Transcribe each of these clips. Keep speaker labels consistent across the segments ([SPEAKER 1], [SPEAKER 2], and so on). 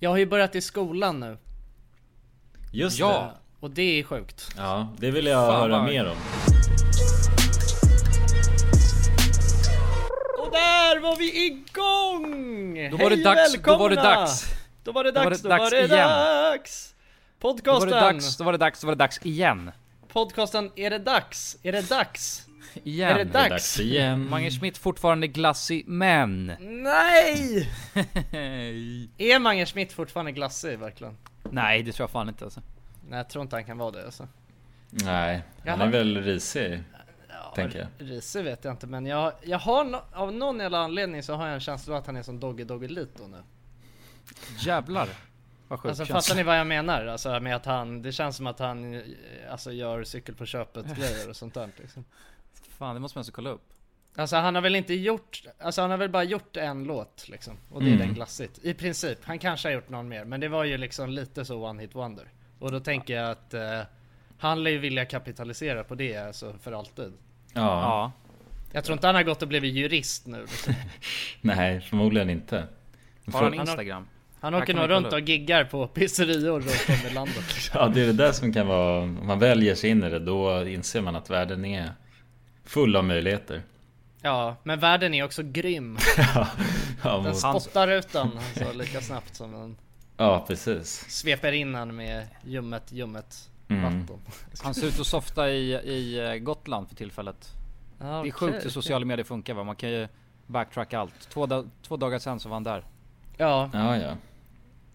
[SPEAKER 1] Jag har ju börjat i skolan nu.
[SPEAKER 2] Just
[SPEAKER 3] Ja.
[SPEAKER 2] det.
[SPEAKER 1] Och det är sjukt.
[SPEAKER 2] Ja, det vill jag
[SPEAKER 3] Fan,
[SPEAKER 2] höra
[SPEAKER 3] vad-
[SPEAKER 2] mer om.
[SPEAKER 1] Och där var vi igång!
[SPEAKER 3] Då var det
[SPEAKER 1] Hej,
[SPEAKER 3] dags, då
[SPEAKER 1] välkomna!
[SPEAKER 3] var det dags.
[SPEAKER 1] Då var det
[SPEAKER 3] Då var
[SPEAKER 1] dags,
[SPEAKER 3] det
[SPEAKER 1] då var
[SPEAKER 3] dags
[SPEAKER 1] det
[SPEAKER 3] igen.
[SPEAKER 1] dags!
[SPEAKER 3] Då var
[SPEAKER 1] Podcasten!
[SPEAKER 3] det dags, då var det dags, då var det dags igen.
[SPEAKER 1] Podcasten, är det dags? Är det dags?
[SPEAKER 3] Igen.
[SPEAKER 1] Är det dags?
[SPEAKER 2] Dags igen.
[SPEAKER 3] Mange Schmidt fortfarande glassig, men...
[SPEAKER 1] Nej! Är Mange Schmidt fortfarande glassig verkligen?
[SPEAKER 3] Nej, det tror jag fan inte alltså.
[SPEAKER 1] Nej jag tror inte han kan vara det alltså.
[SPEAKER 2] Nej, han
[SPEAKER 1] Jaha.
[SPEAKER 2] är väl risig. Tänker jag.
[SPEAKER 1] Risig vet jag inte men jag, jag har no- av någon jävla anledning så har jag en känsla av att han är som Dogge Doggelito nu.
[SPEAKER 3] Jävlar. Vad sjukt
[SPEAKER 1] Alltså
[SPEAKER 3] känns.
[SPEAKER 1] fattar ni vad jag menar? Alltså med att han, det känns som att han eh, alltså, gör cykel på köpet grejer och sånt där liksom.
[SPEAKER 3] Fan, det måste man alltså kolla upp.
[SPEAKER 1] Alltså han har väl inte gjort, alltså han har väl bara gjort en låt liksom. Och det är
[SPEAKER 3] Mm.
[SPEAKER 1] den glassigt. I princip. Han kanske har gjort någon mer. Men det var ju liksom lite så one hit wonder. Och då tänker jag att eh, han lär ju vilja kapitalisera på det alltså för alltid.
[SPEAKER 2] Ja,
[SPEAKER 3] Ja.
[SPEAKER 1] Jag tror inte han har gått och blivit jurist nu. Liksom.
[SPEAKER 2] nej, förmodligen inte.
[SPEAKER 3] Har han
[SPEAKER 2] Frå-
[SPEAKER 3] Instagram?
[SPEAKER 1] Han
[SPEAKER 3] Här
[SPEAKER 1] åker
[SPEAKER 3] kan
[SPEAKER 1] nog
[SPEAKER 3] vi kolla
[SPEAKER 1] runt
[SPEAKER 3] upp.
[SPEAKER 1] och giggar på pizzerior runt om i landet. liksom.
[SPEAKER 2] Ja, det är det där som kan vara... Om man väl ger sig in i det, då inser man att världen är full av möjligheter.
[SPEAKER 1] Ja, men världen är också grym.
[SPEAKER 2] Ja,
[SPEAKER 1] Den
[SPEAKER 2] mot,
[SPEAKER 3] Hans-
[SPEAKER 1] spottar ut den alltså, lika snabbt som den
[SPEAKER 2] ja precis.
[SPEAKER 1] sveper in den med ljummet, ljummet
[SPEAKER 3] Mm.
[SPEAKER 1] vatten.
[SPEAKER 3] Han ser ut att softa i, i eh, Gotland för tillfället.
[SPEAKER 1] Ja,
[SPEAKER 3] Det är
[SPEAKER 1] okej,
[SPEAKER 3] sjukt hur
[SPEAKER 1] okej.
[SPEAKER 3] sociala medier funkar va? Man kan ju backtracka allt. Två, da- två dagar sen så var han där.
[SPEAKER 1] Ja,
[SPEAKER 2] Ja, ja.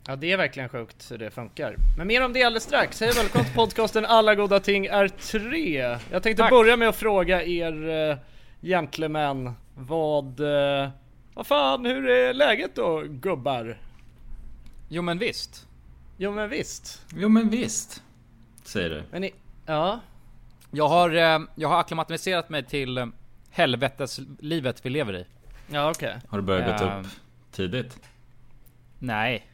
[SPEAKER 1] ja, det är verkligen sjukt hur det funkar. Men mer om det alldeles strax. Hej och välkommen till podcasten Alla goda ting är tre. Jag tänkte
[SPEAKER 3] Tack.
[SPEAKER 1] börja med att fråga er eh, gentlemän vad... eh, vad fan, hur är läget då gubbar?
[SPEAKER 3] Jo men visst.
[SPEAKER 1] Jo men visst.
[SPEAKER 2] Jo, men visst. Säger du.
[SPEAKER 1] Men ni... Ja.
[SPEAKER 3] Jag har, eh, jag har akklimatiserat mig till eh, helveteslivet vi lever i.
[SPEAKER 1] Ja okej.
[SPEAKER 2] Har du börjat gått
[SPEAKER 3] Ja.
[SPEAKER 2] upp
[SPEAKER 3] Ehm.
[SPEAKER 2] tidigt?
[SPEAKER 3] Nej,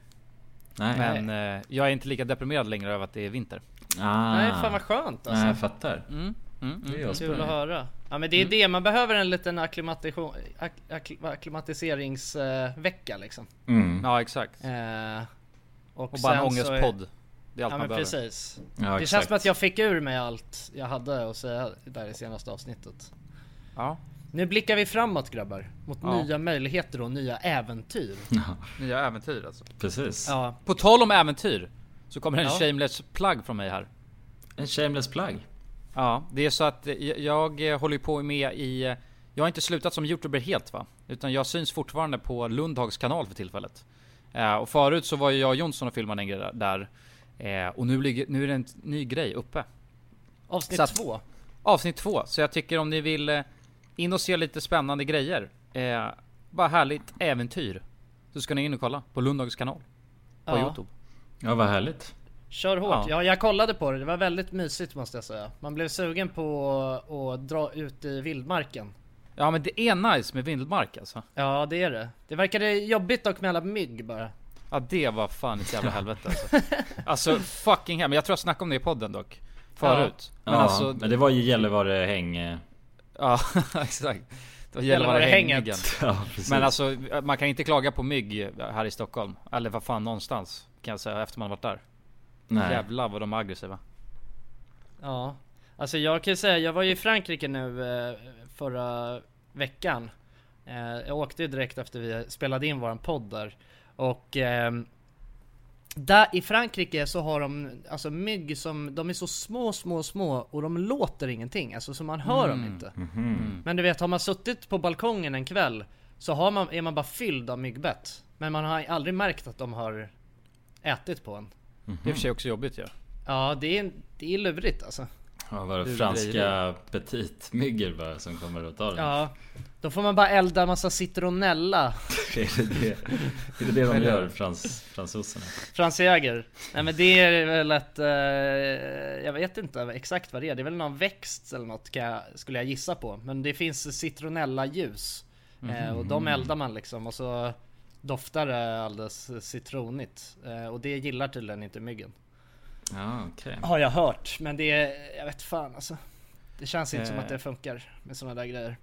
[SPEAKER 2] Nej.
[SPEAKER 3] men eh, jag är inte lika deprimerad längre över att det är vinter.
[SPEAKER 2] Ah.
[SPEAKER 1] Nej fan vad skönt alltså.
[SPEAKER 2] Nej, jag fattar.
[SPEAKER 3] Mm, mm.
[SPEAKER 2] Det är jag
[SPEAKER 1] Kul att
[SPEAKER 2] som-
[SPEAKER 1] höra. Ja men det är det, man behöver en liten acklimatation, ak, ak, akklimatiseringsvecka liksom.
[SPEAKER 2] Mm.
[SPEAKER 3] Ja exakt.
[SPEAKER 1] Eh,
[SPEAKER 3] Och bara
[SPEAKER 1] sen
[SPEAKER 3] en
[SPEAKER 1] så är-
[SPEAKER 3] ångestpodd. Det är
[SPEAKER 1] Ja
[SPEAKER 3] allt man
[SPEAKER 1] men
[SPEAKER 3] behöver.
[SPEAKER 1] precis.
[SPEAKER 2] Ja,
[SPEAKER 1] det känns
[SPEAKER 2] exakt.
[SPEAKER 1] som att jag fick ur mig allt jag hade att säga där i senaste avsnittet.
[SPEAKER 3] Ja,
[SPEAKER 1] Nu blickar vi framåt grabbar. Mot
[SPEAKER 3] Ja.
[SPEAKER 1] nya möjligheter och nya äventyr.
[SPEAKER 3] nya äventyr alltså.
[SPEAKER 2] Precis.
[SPEAKER 1] Ja.
[SPEAKER 3] På tal om äventyr. Så kommer en
[SPEAKER 1] Ja.
[SPEAKER 3] shameless plug från mig här.
[SPEAKER 2] En shameless plug.
[SPEAKER 3] Ja, det är så att eh, jag jag håller ju på med i... eh, Jag har inte slutat som youtuber helt va? Utan jag syns fortfarande på Lundhags kanal för tillfället. Eh, och förut så var ju jag och Jonsson och filmade en grej där. Eh, och nu, ligger, nu är det en t- ny grej uppe.
[SPEAKER 1] Avsnitt
[SPEAKER 3] Så att-
[SPEAKER 1] två.
[SPEAKER 3] Avsnitt två. Så jag tycker om ni vill eh, in och se lite spännande grejer. Eh, bara härligt äventyr. Så ska ni in och kolla på Lundhags kanal. På
[SPEAKER 1] Ja.
[SPEAKER 3] Youtube.
[SPEAKER 2] Ja, vad härligt.
[SPEAKER 1] Kör hårt.
[SPEAKER 3] Ja.
[SPEAKER 1] Ja. jag kollade på det. Det var väldigt mysigt måste jag säga. Man blev sugen på att dra ut i vildmarken.
[SPEAKER 3] Ja men det är nice med vildmark alltså.
[SPEAKER 1] Ja det är det. Det verkade jobbigt dock med alla mygg bara.
[SPEAKER 3] Ja det var fan ett jävla helvete alltså. alltså fucking hell. Men jag tror jag snackade om det i podden dock. Förut.
[SPEAKER 2] Men,
[SPEAKER 3] Men
[SPEAKER 2] ja,
[SPEAKER 3] alltså.
[SPEAKER 2] men det var ju Gällivare häng... eh,
[SPEAKER 3] Ja exakt. Det var
[SPEAKER 1] Gällivare-hänget.
[SPEAKER 3] Gällivare-hänget.
[SPEAKER 2] Ja, precis.
[SPEAKER 3] Men alltså man kan inte klaga på mygg här i Stockholm. Eller vad fan någonstans. Kan jag säga efter man varit där.
[SPEAKER 2] Nej.
[SPEAKER 3] Jävlar vad de är aggressiva.
[SPEAKER 1] Ja. Alltså jag kan ju säga, jag var ju i Frankrike nu eh, förra veckan. Eh, jag åkte ju direkt efter vi spelade in våran podd där. Och ehm, där i Frankrike så har de alltså mygg som, de är så små, små, små och de låter ingenting. Alltså så man hör
[SPEAKER 2] Mm.
[SPEAKER 1] dem inte.
[SPEAKER 4] Mhm.
[SPEAKER 1] Men du vet, har man suttit på balkongen en kväll så har man, är man bara fylld av myggbett. Men man har aldrig märkt att de har ätit på en.
[SPEAKER 3] Det är i och för sig också jobbigt ju. Ja.
[SPEAKER 1] Ja, det är, det är lurigt alltså.
[SPEAKER 2] Ja, var det
[SPEAKER 3] Du
[SPEAKER 2] franska petitmyggor bara som kommer och tar den?
[SPEAKER 1] Ja, då får man bara elda massa citronella.
[SPEAKER 2] Är det det, är det, det de gör, frans, fransoserna?
[SPEAKER 1] Franz Jäger. Nej men det är väl ett... Eh, jag vet inte exakt vad det är. Det är väl någon växt eller något kan jag, skulle jag gissa på. Men det finns citronella ljus.
[SPEAKER 3] Mhm.
[SPEAKER 1] Eh, och de eldar man liksom och så doftar det alldeles citronigt. Eh, och det gillar tydligen inte myggen.
[SPEAKER 2] Ja, okej.
[SPEAKER 1] Har jag hört. Men det är... Jag vet fan alltså. Det känns inte som
[SPEAKER 3] Eh.
[SPEAKER 1] att det funkar med sådana där grejer.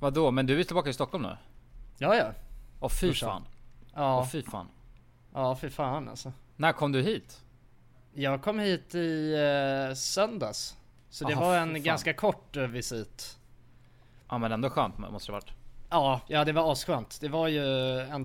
[SPEAKER 3] Vadå men du är tillbaka i Stockholm nu?
[SPEAKER 1] Ja ja.
[SPEAKER 3] Åh fy
[SPEAKER 1] Brorsan.
[SPEAKER 3] fan.
[SPEAKER 1] Ja.
[SPEAKER 3] Åh fy fan.
[SPEAKER 1] Ja, för fan alltså.
[SPEAKER 3] När kom du hit?
[SPEAKER 1] Jag kom hit i eh, söndags. Så det
[SPEAKER 3] Aha,
[SPEAKER 1] var
[SPEAKER 3] fy
[SPEAKER 1] en
[SPEAKER 3] fan.
[SPEAKER 1] ganska kort eh, visit.
[SPEAKER 3] Ja men ändå skönt måste det varit.
[SPEAKER 1] Ja, ja det var asskönt. Det var ju en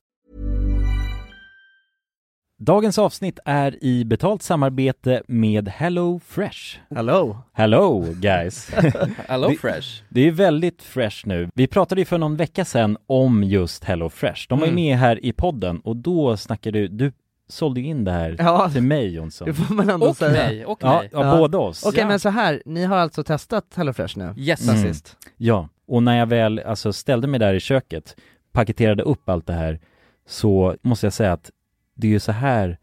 [SPEAKER 5] Dagens avsnitt är i betalt samarbete med Hello Fresh.
[SPEAKER 4] Hello!
[SPEAKER 5] Hello guys!
[SPEAKER 4] Hello
[SPEAKER 5] Vi-
[SPEAKER 4] Fresh!
[SPEAKER 5] Det är väldigt fresh nu. Vi pratade ju för någon vecka sedan om just Hello Fresh. De var ju
[SPEAKER 4] Mm.
[SPEAKER 5] med här i podden och då snackade du, du sålde ju in det här
[SPEAKER 4] Ja,
[SPEAKER 5] till mig Jonsson.
[SPEAKER 4] det får man ändå
[SPEAKER 3] Och
[SPEAKER 4] säga.
[SPEAKER 3] mig, och
[SPEAKER 5] Ja,
[SPEAKER 3] mig.
[SPEAKER 5] ja,
[SPEAKER 4] Ja.
[SPEAKER 5] båda oss.
[SPEAKER 4] Okej
[SPEAKER 5] ja.
[SPEAKER 4] men så här, ni har alltså testat HelloFresh nu?
[SPEAKER 3] Yes.
[SPEAKER 5] Mm.
[SPEAKER 4] Sist.
[SPEAKER 5] ja, och när jag väl alltså, ställde mig där i köket, paketerade upp allt det här, så måste jag säga att det är ju så här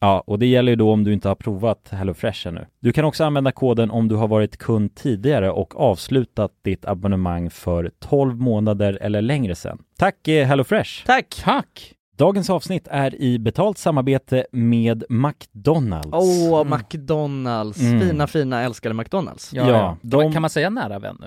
[SPEAKER 5] Ja, och det gäller ju då om du inte har provat HelloFresh ännu. Du kan också använda koden om du har varit kund tidigare och avslutat ditt abonnemang för 12 månader eller längre sedan. Tack eh, HelloFresh!
[SPEAKER 4] Tack!
[SPEAKER 3] Tack!
[SPEAKER 5] Dagens avsnitt är i betalt samarbete med McDonalds.
[SPEAKER 4] Åh, McDonalds.
[SPEAKER 5] Mm.
[SPEAKER 4] Fina, fina, älskade McDonalds.
[SPEAKER 5] Ja, de-
[SPEAKER 3] Kan man säga nära vän nu?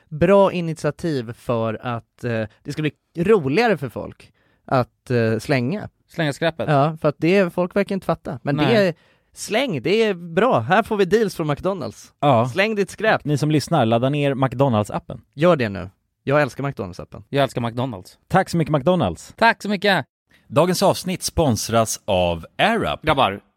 [SPEAKER 4] bra initiativ för att eh, det ska bli roligare för folk att eh, slänga.
[SPEAKER 3] Slänga skräpet.
[SPEAKER 4] Ja, för att det, folk verkar inte fatta. Men det
[SPEAKER 3] Nej.
[SPEAKER 4] är, Släng, det är bra. Här får vi deals från McDonalds.
[SPEAKER 5] Ja,
[SPEAKER 4] Släng ditt skräp.
[SPEAKER 5] ni som lyssnar, ladda ner McDonalds-appen.
[SPEAKER 4] Gör det nu. Jag älskar McDonalds-appen.
[SPEAKER 3] Jag älskar McDonalds.
[SPEAKER 5] Tack så mycket McDonalds!
[SPEAKER 3] Tack så mycket!
[SPEAKER 2] Dagens avsnitt sponsras av AirUp.
[SPEAKER 6] Grabbar,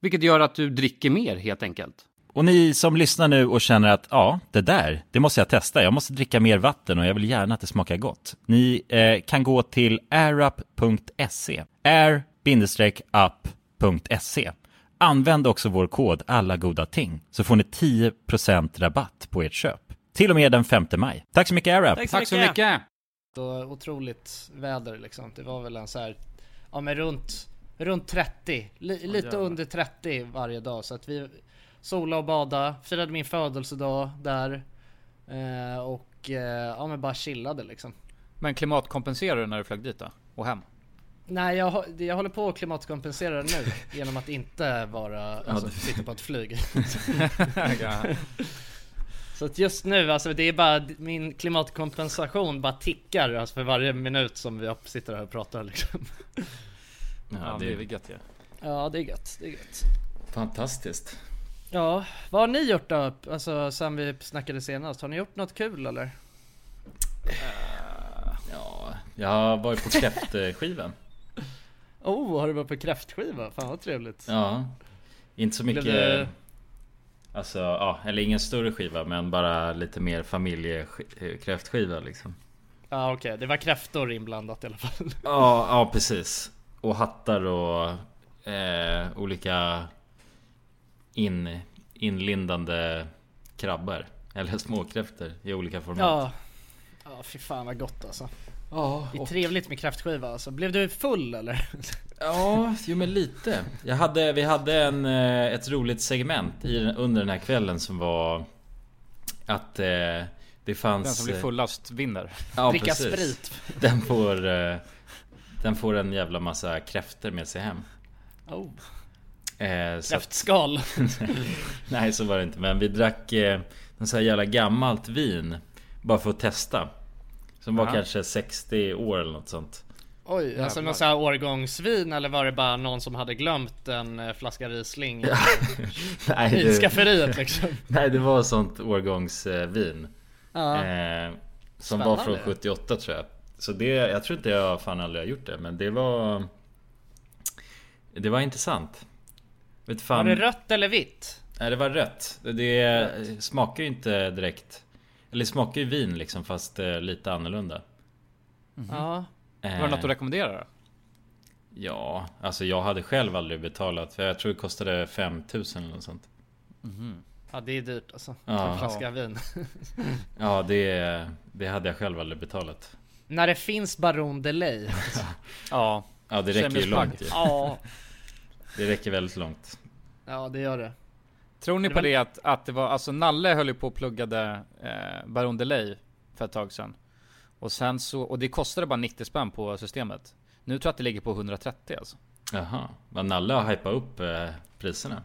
[SPEAKER 6] vilket gör att du dricker mer helt enkelt.
[SPEAKER 2] Och ni som lyssnar nu och känner att ja, det där, det måste jag testa. Jag måste dricka mer vatten och jag vill gärna att det smakar gott. Ni eh, kan gå till airup.se. air-up.se. Använd också vår kod alla goda ting så får ni 10% rabatt på ert köp. Till och med den 5 maj. Tack så mycket AirUp!
[SPEAKER 6] Tack så mycket!
[SPEAKER 1] Och otroligt väder liksom. Det var väl en så här, ja men runt, runt 30, li, lite under 30 varje dag. Så att vi sola och bada, firade min födelsedag där. Eh, och eh, ja men bara chillade liksom.
[SPEAKER 3] Men klimatkompenserar du när du flög dit då? Och hem?
[SPEAKER 1] Nej jag, hå- jag håller på att klimatkompensera nu genom att inte vara, alltså, sitta på ett flyg. Så att just nu, alltså det är bara min klimatkompensation bara tickar alltså för varje minut som vi sitter här och pratar liksom.
[SPEAKER 3] Ja, det är väl gött ju.
[SPEAKER 1] Ja det är gött, det är gött.
[SPEAKER 2] Fantastiskt.
[SPEAKER 1] Ja, vad har ni gjort då? Alltså sen vi snackade senast, har ni gjort något kul eller?
[SPEAKER 2] Ja, jag har varit på kräftskivan.
[SPEAKER 1] Oh, har du varit på kräftskiva? Fan vad trevligt.
[SPEAKER 2] Ja, inte så mycket.
[SPEAKER 1] Blev det-
[SPEAKER 2] Alltså, ja, eller ingen större skiva, men bara lite mer familjekräftskiva liksom.
[SPEAKER 1] Ja okej, det var kräftor inblandat i alla fall.
[SPEAKER 2] Ja, ja precis. Och hattar och eh, olika in, inlindande krabbar. Eller småkräftor i olika format.
[SPEAKER 1] Ja. Ja fy fan vad gott alltså.
[SPEAKER 2] Ja,
[SPEAKER 1] Det är trevligt med kräftskiva alltså. Blev du full eller?
[SPEAKER 2] Ja, jo men lite. Jag hade, vi hade en, eh, ett roligt segment i, den- under den här kvällen som var att eh, det fanns... eh,
[SPEAKER 3] Den som blir fullast vinner.
[SPEAKER 2] ja,
[SPEAKER 1] Dricka
[SPEAKER 2] precis.
[SPEAKER 1] sprit.
[SPEAKER 2] Den får, eh, den får en jävla massa kräfter med sig hem.
[SPEAKER 1] Oh,
[SPEAKER 2] Eh, så att,
[SPEAKER 1] kräftskal.
[SPEAKER 2] nej, så var det inte. Men vi drack eh, någon sån här jävla gammalt vin. Bara för att testa. Som var kanske 60 år eller något sånt.
[SPEAKER 1] Oj, alltså någon sån här årgångsvin eller var det bara någon som hade glömt en eh, flaska Riesling
[SPEAKER 2] Nej,
[SPEAKER 1] i
[SPEAKER 2] det-
[SPEAKER 1] skafferiet liksom?
[SPEAKER 2] Nej, det var sånt årgångsvin.
[SPEAKER 1] Ja.
[SPEAKER 2] Eh, som var
[SPEAKER 1] Spännande.
[SPEAKER 2] från 78 tror jag. Så det, jag tror inte jag fan aldrig har gjort det. Men det var... Det var intressant. Vet fan,
[SPEAKER 1] Var det rött eller vitt?
[SPEAKER 2] Nej, det var rött. Det, det smakar ju inte direkt... Eller det smakar ju vin liksom, fast eh, lite annorlunda.
[SPEAKER 6] Mm-hmm.
[SPEAKER 1] Ja.
[SPEAKER 2] Eh,
[SPEAKER 3] Har du något att rekommendera då?
[SPEAKER 2] Ja, alltså jag hade själv aldrig betalat. För jag tror det kostade 5000 eller något sånt.
[SPEAKER 1] ja, det är dyrt alltså.
[SPEAKER 2] Mhm. Ja.
[SPEAKER 1] En flaska vin.
[SPEAKER 2] Ja, det, det hade jag själv aldrig betalat.
[SPEAKER 1] När det finns Baron Delay.
[SPEAKER 3] Ja.
[SPEAKER 2] Ja, det räcker ju
[SPEAKER 3] Shameless plug.
[SPEAKER 2] långt ju.
[SPEAKER 1] Ja.
[SPEAKER 2] Det räcker väldigt långt.
[SPEAKER 1] ja, det gör det.
[SPEAKER 3] Tror ni
[SPEAKER 1] Det
[SPEAKER 3] på
[SPEAKER 1] var-
[SPEAKER 3] det att, att det var, alltså Nalle höll ju på och pluggade eh, Baron Delay för ett tag sedan. Och sen så, och det kostade bara 90 spänn på systemet. Nu tror jag att det ligger på 130 alltså.
[SPEAKER 2] Jaha, vad Nalle har hypat upp eh, priserna.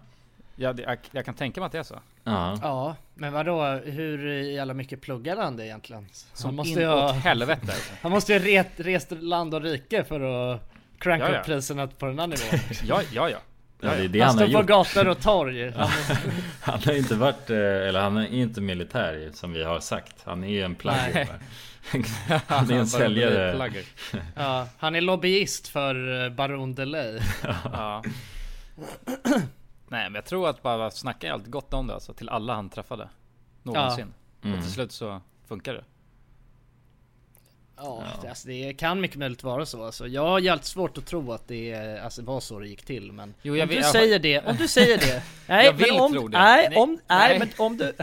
[SPEAKER 3] Jag, jag, jag kan tänka mig att det är så.
[SPEAKER 2] Ja,
[SPEAKER 1] Ja, men vadå? Hur jävla mycket pluggar han det egentligen? Han måste
[SPEAKER 3] In
[SPEAKER 1] ju
[SPEAKER 3] åt
[SPEAKER 1] ha,
[SPEAKER 3] helvete alltså.
[SPEAKER 1] han måste ju ret, rest land och rike för att cranka
[SPEAKER 3] Ja, ja.
[SPEAKER 1] upp priserna på den här nivån.
[SPEAKER 3] Ja, ja, ja.
[SPEAKER 2] ja, det är det
[SPEAKER 1] Han
[SPEAKER 2] han har
[SPEAKER 1] står på
[SPEAKER 2] gjort.
[SPEAKER 1] gator och torg. Han
[SPEAKER 2] Han har inte varit, eh, eller han är inte militär ju, som vi har sagt. Han är ju en plugger. bara. Han är en säljare.
[SPEAKER 3] Plugger.
[SPEAKER 1] Ja, han är lobbyist för eh, Baron Delay.
[SPEAKER 3] Ja. Nej men jag tror att bara snacka allt gott om det alltså, till alla han träffade. någonsin.
[SPEAKER 2] Mm.
[SPEAKER 3] Och till slut så funkar det.
[SPEAKER 1] Ja, det- Alltså, det kan mycket möjligt vara så. Alltså, jag har jävligt svårt att tro att det eh, alltså, var så det gick till. Men
[SPEAKER 3] Jo, jag
[SPEAKER 1] om,
[SPEAKER 3] vet-
[SPEAKER 1] du
[SPEAKER 3] jag-
[SPEAKER 1] säger det, om du säger det. Nej,
[SPEAKER 3] Jag vill
[SPEAKER 1] men om,
[SPEAKER 3] tro det.
[SPEAKER 1] Nej,
[SPEAKER 3] Nej,
[SPEAKER 1] om, nej,
[SPEAKER 3] nej.
[SPEAKER 1] men om du...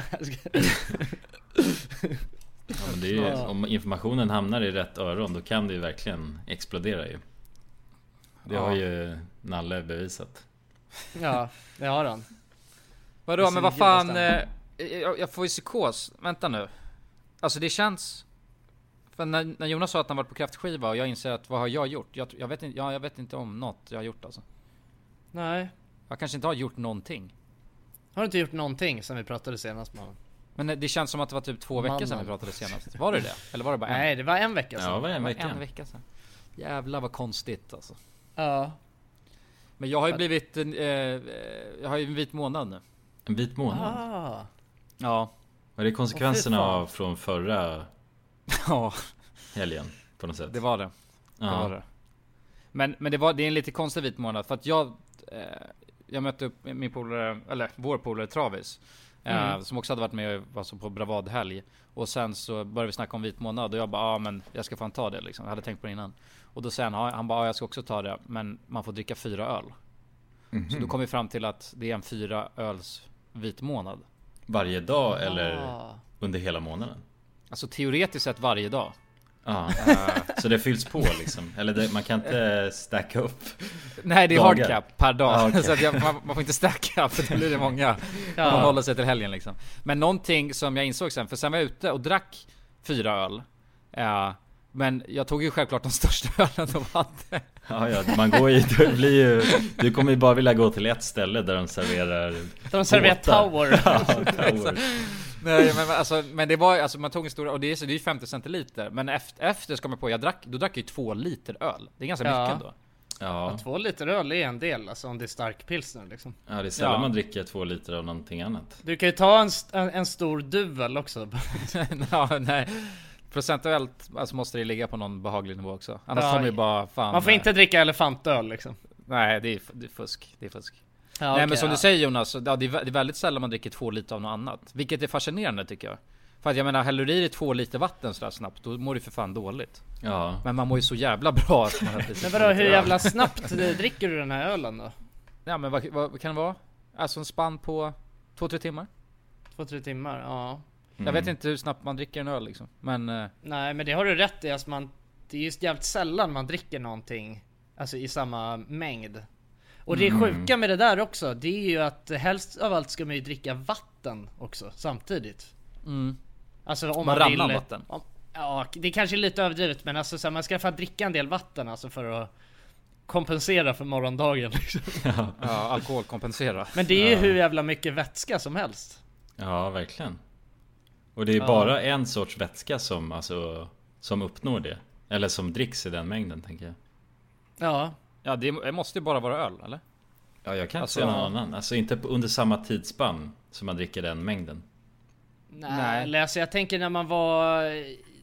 [SPEAKER 2] Ja, men det är ju, om informationen hamnar i rätt öron då kan det ju verkligen explodera ju. Det har
[SPEAKER 3] Ja.
[SPEAKER 2] ju Nalle bevisat.
[SPEAKER 1] ja, det har han. Det
[SPEAKER 3] Vadå,
[SPEAKER 1] ser
[SPEAKER 3] men vad
[SPEAKER 1] ju
[SPEAKER 3] fan?
[SPEAKER 1] jävla
[SPEAKER 3] Eh, jag, jag får ju psykos. Vänta nu. Alltså det känns... För när, när Jonas sa att han varit på kräftskiva och jag inser att vad har jag gjort? Jag, jag, vet, inte, ja, jag vet inte om något jag har gjort alltså.
[SPEAKER 1] Nej.
[SPEAKER 3] Jag kanske inte har gjort någonting.
[SPEAKER 1] Har du inte gjort någonting sen vi pratade senast mannen?
[SPEAKER 3] Men eh, det känns som att det var typ två veckor sedan vi
[SPEAKER 1] Mannen.
[SPEAKER 3] pratade senast. Var det det? Eller var det bara en?
[SPEAKER 1] Nej, det var en vecka sedan.
[SPEAKER 2] Ja, varje
[SPEAKER 3] det var en
[SPEAKER 2] vecka.
[SPEAKER 3] vecka sedan. Jävlar vad konstigt alltså.
[SPEAKER 1] Ja.
[SPEAKER 3] Men jag har ju blivit... en, Eh, eh, jag har ju en vit månad nu.
[SPEAKER 2] En vit
[SPEAKER 3] Mm.
[SPEAKER 2] månad.
[SPEAKER 1] Ah.
[SPEAKER 3] Ja.
[SPEAKER 2] Var det konsekvenserna
[SPEAKER 1] Åh, fy fan.
[SPEAKER 2] av från förra
[SPEAKER 3] Ja,
[SPEAKER 2] helgen? På något sätt.
[SPEAKER 3] det var det. Det var det. Men, men det, var, det är en lite konstig vit månad för att jag, eh, jag mötte upp min polare, eller vår polare Travis. Eh, Som också hade varit med alltså, på bravadhelg. Och sen så började vi snacka om vit månad och jag bara, ja ah, men jag ska fan ta det liksom. Jag hade tänkt på det innan. Och då säger han, ja, han bara, ah, jag ska också ta det. Men man får dricka fyra öl.
[SPEAKER 2] Mhm.
[SPEAKER 3] Så då kom vi fram till att det är en fyra öls vit månad.
[SPEAKER 2] Varje dag eller
[SPEAKER 1] Ah.
[SPEAKER 2] under hela månaden?
[SPEAKER 3] Alltså teoretiskt sett varje dag. Eh,
[SPEAKER 2] Ja. Så det fylls på liksom? Eller det, man kan inte stacka upp?
[SPEAKER 3] Nej det är
[SPEAKER 2] Dagar.
[SPEAKER 3] hard cap per dag.
[SPEAKER 2] Ah, okej.
[SPEAKER 3] så att jag, man, man får inte stacka för då blir det många. Man håller sig till helgen liksom. Men någonting som jag insåg sen, för sen var jag ute och drack fyra öl. Eh, men jag tog ju självklart de största ölen de hade.
[SPEAKER 2] Ja, ja, man går ju, det blir ju, du kommer ju bara vilja gå till ett ställe där de serverar
[SPEAKER 1] De serverar Tower.
[SPEAKER 2] båtar. Ja, tower.
[SPEAKER 3] Nej, men, alltså, men det var alltså man tog en stor och det är, så- det är ju 50 centiliter. Men efter, efter så kom jag på, jag drack, då drack jag ju två liter öl. Det är ganska
[SPEAKER 1] Ja.
[SPEAKER 3] mycket ändå.
[SPEAKER 2] Ja,
[SPEAKER 1] Två liter öl är en del, alltså om det är stark pilsner liksom.
[SPEAKER 2] ja, det är sällan
[SPEAKER 3] Ja.
[SPEAKER 2] man dricker två liter av någonting annat.
[SPEAKER 1] Du kan ju ta en, st- en, en stor duvel också.
[SPEAKER 3] ja, nej. Procentuellt alltså måste det ligga på någon behaglig nivå också. Annars
[SPEAKER 1] Ja,
[SPEAKER 3] kommer ju bara fan.
[SPEAKER 1] Man får
[SPEAKER 3] eh,
[SPEAKER 1] inte dricka elefantöl liksom.
[SPEAKER 3] Nej, det är, f- det är fusk. Det är fusk.
[SPEAKER 1] Ja,
[SPEAKER 3] Nej
[SPEAKER 1] okej,
[SPEAKER 3] men som
[SPEAKER 1] ja.
[SPEAKER 3] du säger Jonas, så- ja, det, är, vä- det är väldigt sällan man dricker två liter av något annat. Vilket är fascinerande tycker jag. För att jag menar, häller du i dig två liter vatten sådär snabbt, då mår du för fan dåligt.
[SPEAKER 2] Ja,
[SPEAKER 3] Men man mår ju så jävla bra att man har precis
[SPEAKER 1] Men vadå, hur jävla snabbt eh, dricker du den här ölen då?
[SPEAKER 3] Ja men vad, vad kan det vara? Alltså en spann på två, tre timmar?
[SPEAKER 1] Två, tre timmar? Ja.
[SPEAKER 3] Jag vet inte hur snabbt man dricker en öl liksom. Men... eh,
[SPEAKER 1] Nej, men det har du rätt i. Alltså man, det är just jävligt sällan man dricker någonting alltså i samma mängd. Och det sjuka med det där också, det är ju att helst av allt ska man ju dricka vatten också samtidigt.
[SPEAKER 4] Mm.
[SPEAKER 1] Alltså om
[SPEAKER 3] Man
[SPEAKER 1] man,
[SPEAKER 3] ramlar
[SPEAKER 1] vill,
[SPEAKER 3] vatten.
[SPEAKER 1] Om, ja, det kanske är lite överdrivet men alltså så här, man ska fan dricka en del vatten alltså för att kompensera för morgondagen. Liksom.
[SPEAKER 3] Ja, alkohol kompenserar.
[SPEAKER 1] Men det är ju hur jävla mycket vätska som helst.
[SPEAKER 2] ja verkligen. Och det är bara en sorts vätska som, alltså, som uppnår det. Eller som dricks i den mängden tänker jag.
[SPEAKER 1] Ja,
[SPEAKER 3] Ja det är- det måste ju bara vara öl eller?
[SPEAKER 2] Ja, jag kan inte
[SPEAKER 3] Alltså-
[SPEAKER 2] se någon annan. Alltså inte på- under samma tidsspann som man dricker den mängden.
[SPEAKER 1] Nej,
[SPEAKER 3] Nej.
[SPEAKER 1] eller Alltså jag tänker när man var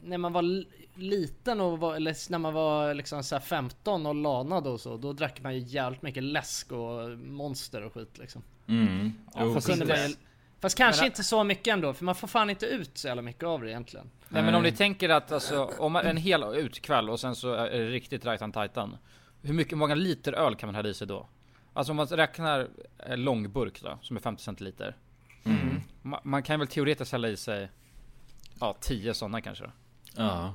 [SPEAKER 1] När man var l- liten och var, eller när man var liksom så här 15 och lanad och så Då drack man ju jävligt mycket läsk och monster och skit liksom
[SPEAKER 2] Mm.
[SPEAKER 3] fast
[SPEAKER 2] Jo, precis.
[SPEAKER 1] Kunde man ju, Fast kanske
[SPEAKER 3] Men-
[SPEAKER 1] inte så mycket ändå för man får fan inte ut så jävla mycket av det egentligen
[SPEAKER 3] Nej men om ni tänker att alltså, om man- en hel utkväll och sen så är det riktigt rajtan tajtan. Hur mycket, många liter öl kan man hälla i sig då? Alltså om man räknar eh, långburk då, som är 50 centiliter.
[SPEAKER 2] Mm.
[SPEAKER 3] Ma- man kan väl teoretiskt hälla i sig, ja 10 sådana kanske då.
[SPEAKER 2] Ja.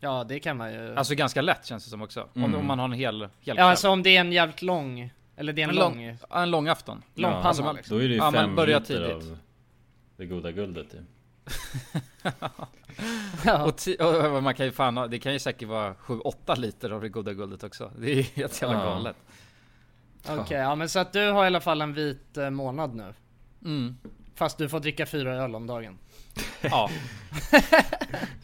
[SPEAKER 1] Ja det kan man ju
[SPEAKER 3] Alltså ganska lätt känns det som också.
[SPEAKER 2] Mm.
[SPEAKER 3] Om, om man har en hel, hel kväll.
[SPEAKER 1] Ja alltså om det är en jävligt lång Eller det är en,
[SPEAKER 3] en
[SPEAKER 1] lång,
[SPEAKER 3] lång,
[SPEAKER 1] lång,
[SPEAKER 3] en lång afton.
[SPEAKER 2] Ja,
[SPEAKER 1] panna
[SPEAKER 2] alltså
[SPEAKER 3] man-
[SPEAKER 1] liksom.
[SPEAKER 2] Då är det ju
[SPEAKER 3] Ja, man
[SPEAKER 2] fem
[SPEAKER 3] börjar
[SPEAKER 2] liter
[SPEAKER 3] tidigt.
[SPEAKER 2] av det goda guldet ju.
[SPEAKER 1] ja.
[SPEAKER 3] Och, ti- och man kan ju fan ha, det kan ju säkert vara 7-8 liter av det goda guldet också. Det är ju helt jävla
[SPEAKER 2] Ja.
[SPEAKER 3] galet.
[SPEAKER 1] Okej, ja men så att du har i alla fall en vit eh, månad nu
[SPEAKER 3] Mm.
[SPEAKER 1] Fast du får dricka fyra öl om dagen
[SPEAKER 3] Ja.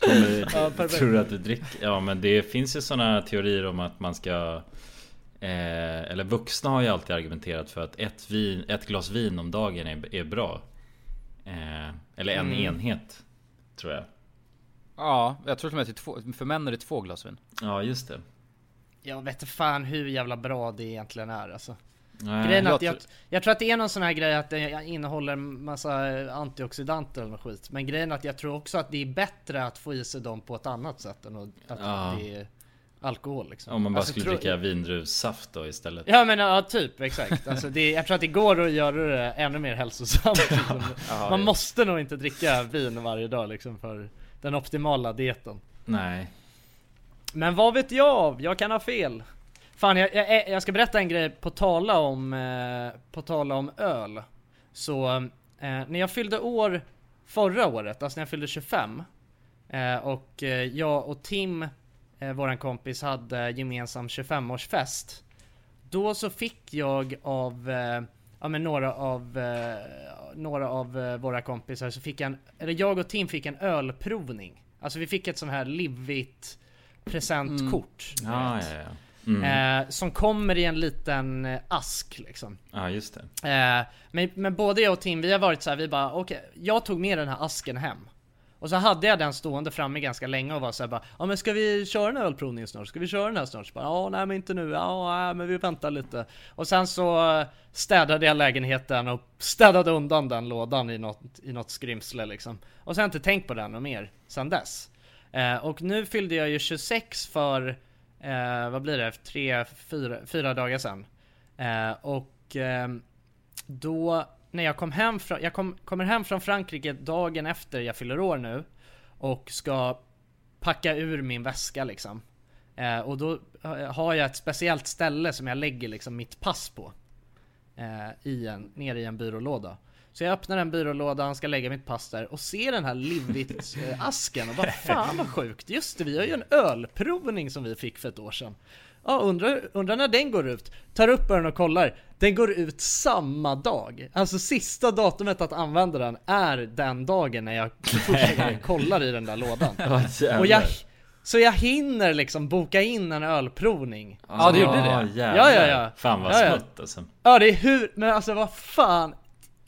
[SPEAKER 2] Kommer, tror du att du dricker? Ja men det finns ju sådana teorier om att man ska eh, Eller vuxna har ju alltid argumenterat för att ett, vin, ett glas vin om dagen är, är bra eh, Eller en enhet Tror jag
[SPEAKER 3] Mm. Ja, jag tror till och med att det är två, för män är det två glas vin.
[SPEAKER 2] Ja just det
[SPEAKER 1] Jag vet inte fan hur jävla bra det egentligen är alltså.
[SPEAKER 2] Nej,
[SPEAKER 1] Grejen är
[SPEAKER 2] jag
[SPEAKER 1] att jag,
[SPEAKER 2] tr-
[SPEAKER 1] jag tror att det är någon sån här grej att det innehåller en massa eh, antioxidanter eller något skit. Men grejen är att jag tror också att det är bättre att få i sig dem på ett annat sätt än att, att
[SPEAKER 2] Ja.
[SPEAKER 1] det är alkohol liksom.
[SPEAKER 2] Om man bara
[SPEAKER 1] Alltså,
[SPEAKER 2] skulle
[SPEAKER 1] tro-
[SPEAKER 2] dricka vindruvssaft då istället.
[SPEAKER 1] Ja men ja, typ exakt. Alltså, det, jag tror att det går att göra det ännu mer hälsosamt. liksom. Man måste nog inte dricka vin varje dag liksom för den optimala dieten.
[SPEAKER 2] Nej.
[SPEAKER 1] Men vad vet jag? Jag kan ha fel. Fan, jag, jag, jag ska berätta en grej på tala om, eh, på tala om öl. Så eh, när jag fyllde år förra året, alltså när jag fyllde 25. Eh, och eh, jag och Tim, eh, våran kompis, hade gemensam 25-årsfest. Då så fick jag av eh, ja, men några av, eh, några av eh, våra kompisar så fick jag en, eller jag och Tim fick en ölprovning. Alltså vi fick ett sånt här livvigt presentkort. du
[SPEAKER 2] Ja,
[SPEAKER 1] vet.
[SPEAKER 2] ja, ja. Mm.
[SPEAKER 1] Eh, som kommer i en liten eh, ask liksom.
[SPEAKER 2] Ja, just det.
[SPEAKER 1] Eh, men, men både jag och Tim, vi har varit så här, vi bara okej, jag tog med den här asken hem. Och så hade jag den stående framme ganska länge och var såhär bara Ja men ska vi köra en ölprovning snart? Ska vi köra den här snart? Så bara, Ja nej men inte nu, ja nej, men vi väntar lite. Och sen så eh, städade jag lägenheten och städade undan den lådan i något, i något skrymsle liksom. Och sen har jag inte tänkt på den och mer sen dess. Eh, och nu fyllde jag ju 26 för, eh, vad blir det, tre, fyra, fyra dagar sedan. Eh, och ehm, då när jag kom hem från, jag kom, kommer hem från Frankrike dagen efter jag fyller år nu och ska packa ur min väska liksom. Eh, och då eh, har jag ett speciellt ställe som jag lägger liksom mitt pass på. Eh, i en, nere i en byrålåda. Så jag öppnar den byrålådan, ska lägga mitt pass där och ser den här livligt eh, asken och bara fan vad sjukt, just det vi har ju en ölprovning som vi fick för ett år sedan. Ja, undrar, undrar när den går ut. Tar upp den och kollar. Den går ut samma dag. Alltså sista datumet att använda den är den dagen när jag första gången kollar i den där lådan.
[SPEAKER 2] jävlar.
[SPEAKER 1] Och jag, så jag hinner liksom boka in en ölprovning.
[SPEAKER 3] Ja, du gjorde det.
[SPEAKER 2] Ah,
[SPEAKER 1] Ja,
[SPEAKER 2] jävlar.
[SPEAKER 1] ja, ja.
[SPEAKER 2] Fan vad
[SPEAKER 1] Ja, ja. Typ.
[SPEAKER 2] smått alltså.
[SPEAKER 1] Ja det är hur, men alltså vad fan.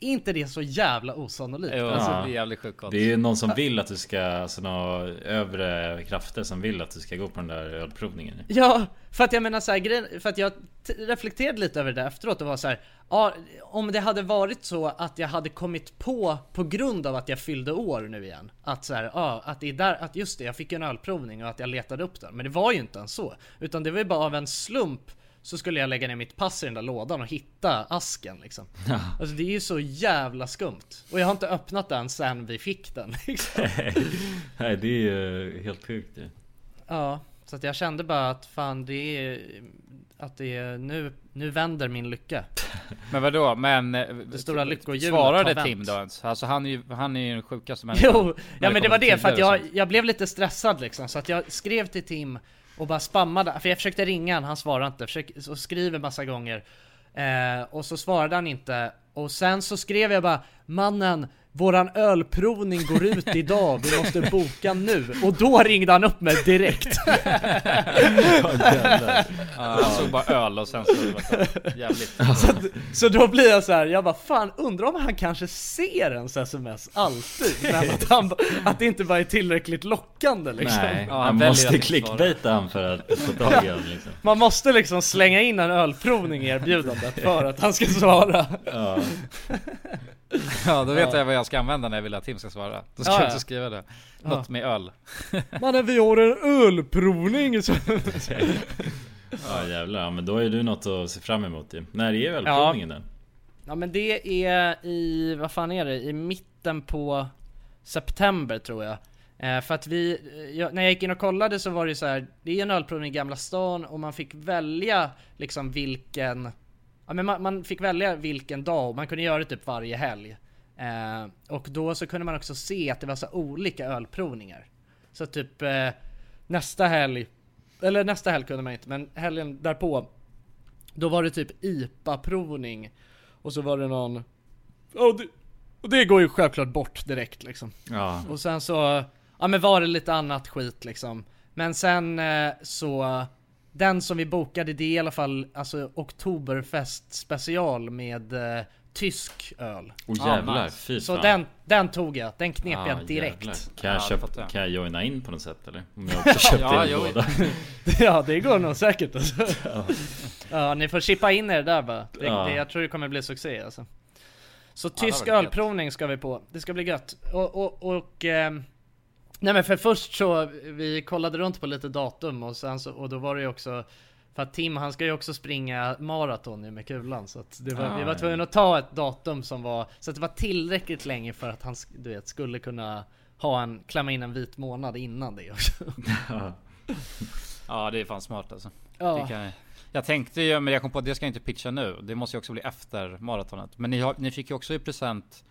[SPEAKER 1] Är inte det så jävla osannolikt?
[SPEAKER 3] Jo,
[SPEAKER 1] Alltså,
[SPEAKER 3] alltså, det är jävligt sjukt.
[SPEAKER 2] Det är ju någon som vill att du ska, alltså några övre krafter som vill att du ska gå på den där ölprovningen.
[SPEAKER 1] Ja, för att jag menar så här, grejen, för att jag t- reflekterade lite över det efteråt och var så här, ja, om det hade varit så att jag hade kommit på på grund av att jag fyllde år nu igen, att så här, ja, att det är där, att just det, jag fick ju en ölprovning och att jag letade upp den, men det var ju inte ens så, utan det var ju bara av en slump så skulle jag lägga ner mitt pass i den där lådan och hitta asken liksom. Alltså det är ju så jävla skumt. Och jag har inte öppnat den sen vi fick den liksom.
[SPEAKER 2] Nej, det är ju helt sjukt ju.
[SPEAKER 1] Ja, så att jag kände bara att fan det är att det är nu, nu vänder min lycka.
[SPEAKER 3] Men vadå? Men... eh,
[SPEAKER 1] Det stora lyckohjulet har
[SPEAKER 3] Svarade
[SPEAKER 1] vänt.
[SPEAKER 3] Tim då ens? Alltså han är ju, han är ju den sjukaste människan.
[SPEAKER 1] Jo, ja
[SPEAKER 3] När
[SPEAKER 1] men det liksom. var
[SPEAKER 3] kommer till
[SPEAKER 1] det för att
[SPEAKER 3] tider och
[SPEAKER 1] jag,
[SPEAKER 3] sånt.
[SPEAKER 1] jag blev lite stressad liksom så att jag skrev till Tim och bara spammade, för jag försökte ringa han, han svarade inte, försök, och skriver massa gånger eh, och så svarade han inte och sen så skrev jag bara mannen Våran ölprovning går ut idag, vi måste boka nu. Och då ringde han upp mig direkt.
[SPEAKER 3] Ja, Han såg bara öl och sen så... Jävligt.
[SPEAKER 1] Så då blir jag så här, jag bara fan undrar om han kanske ser ens sms alltid? Men att, han, att det inte bara är tillräckligt lockande liksom.
[SPEAKER 2] Nej,
[SPEAKER 3] Ja, han
[SPEAKER 2] man
[SPEAKER 3] väljer att
[SPEAKER 2] måste
[SPEAKER 3] inte svara.
[SPEAKER 2] clickbaita han för att få tag i honom liksom.
[SPEAKER 1] Man måste liksom slänga in en ölprovning i erbjudandet för att han ska svara.
[SPEAKER 2] Ja.
[SPEAKER 3] Ja, då vet jag vad jag ska använda när jag vill att Tim ska svara. Då ska
[SPEAKER 1] Ja,
[SPEAKER 3] jag
[SPEAKER 1] ja.
[SPEAKER 3] också skriva det. Något med öl.
[SPEAKER 1] Mannen vi har en ölprovning!
[SPEAKER 2] ja, jävlar. Ja, men då är du något att se fram emot ju. När är ölprovningen den?
[SPEAKER 1] Ja men det är i, vad fan är det? I mitten på September tror jag. Eh, för att vi, eh, jag, när jag gick in och kollade så var det ju så här, det är en ölprovning i Gamla stan och man fick välja liksom vilken, ja men man, man fick välja vilken dag och man kunde göra det typ varje helg. Eh, och då så kunde man också se att det var så här olika ölprovningar. Så typ eh, nästa helg, eller nästa helg kunde man inte men helgen därpå, då var det typ IPA-provning och så var det någon... Ja, Och det, och det går ju självklart bort direkt liksom.
[SPEAKER 2] Ja.
[SPEAKER 1] Och sen så... Ja men var det lite annat skit liksom. Men sen eh, så... Den som vi bokade det är i alla fall alltså Oktoberfest special med eh, tysk öl.
[SPEAKER 2] Åh
[SPEAKER 3] Ah,
[SPEAKER 2] jävlar,
[SPEAKER 3] nice.
[SPEAKER 2] fy fan.
[SPEAKER 1] Så den, den tog jag, den knep
[SPEAKER 2] Ah,
[SPEAKER 1] jag
[SPEAKER 2] jävlar.
[SPEAKER 1] direkt.
[SPEAKER 2] Kan jag,
[SPEAKER 3] Ja, det fattar
[SPEAKER 2] köpa,
[SPEAKER 3] jag.
[SPEAKER 2] kan jag joina in på något sätt eller? Om jag också köpte
[SPEAKER 3] Ja,
[SPEAKER 2] in
[SPEAKER 3] jo.
[SPEAKER 2] båda.
[SPEAKER 1] ja det går nog säkert alltså. ja. ni får chippa in er där bara. Det,
[SPEAKER 2] Ja.
[SPEAKER 1] det, jag tror det kommer bli succé alltså. Så
[SPEAKER 3] det
[SPEAKER 1] tysk
[SPEAKER 3] var gött.
[SPEAKER 1] ölprovning ska vi på. Det ska bli gött. Och, och, och ehm, Nej men för först så, vi kollade runt på lite datum och sen så, och då var det ju också För att Tim han ska ju också springa maraton nu med kulan så att det var, vi
[SPEAKER 3] Ah,
[SPEAKER 1] var tvungna att ta ett datum som var Så att det var tillräckligt länge för att han sk- du vet, skulle kunna ha en, klämma in en vit månad innan det också.
[SPEAKER 3] Ja det är fan smart alltså.
[SPEAKER 1] Ja.
[SPEAKER 3] Det kan, jag- jag tänkte ju, men jag kom på att det ska jag inte pitcha nu. Det måste ju också bli efter maratonet. Men ni, har, ni fick ju också i present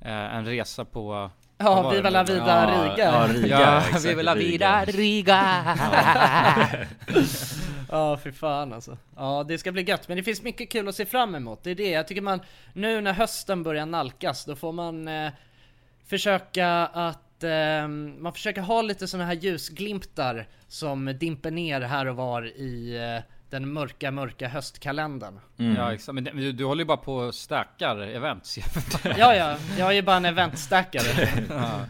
[SPEAKER 3] eh, en resa på... vad
[SPEAKER 1] Ja,
[SPEAKER 3] var
[SPEAKER 1] Viva
[SPEAKER 3] det?
[SPEAKER 1] la vida Riga!
[SPEAKER 2] Ja,
[SPEAKER 1] Ja,
[SPEAKER 2] Riga.
[SPEAKER 3] Ja,
[SPEAKER 2] exakt,
[SPEAKER 3] vi vill ha
[SPEAKER 2] Riga.
[SPEAKER 3] vidare.
[SPEAKER 1] fy fan alltså. Ja, det ska bli gött. Men det finns mycket kul att se fram emot. Det är det. Jag tycker man, nu när hösten börjar nalkas, då får man eh, försöka att eh, man försöker ha lite såna här ljusglimtar som dimper ner här och var i eh, den mörka, mörka höstkalendern.
[SPEAKER 2] Mm.
[SPEAKER 3] Ja exakt, men det- men du, du håller ju bara på och stackar events.
[SPEAKER 1] Ja, ja, jag är ju bara en eventstackare.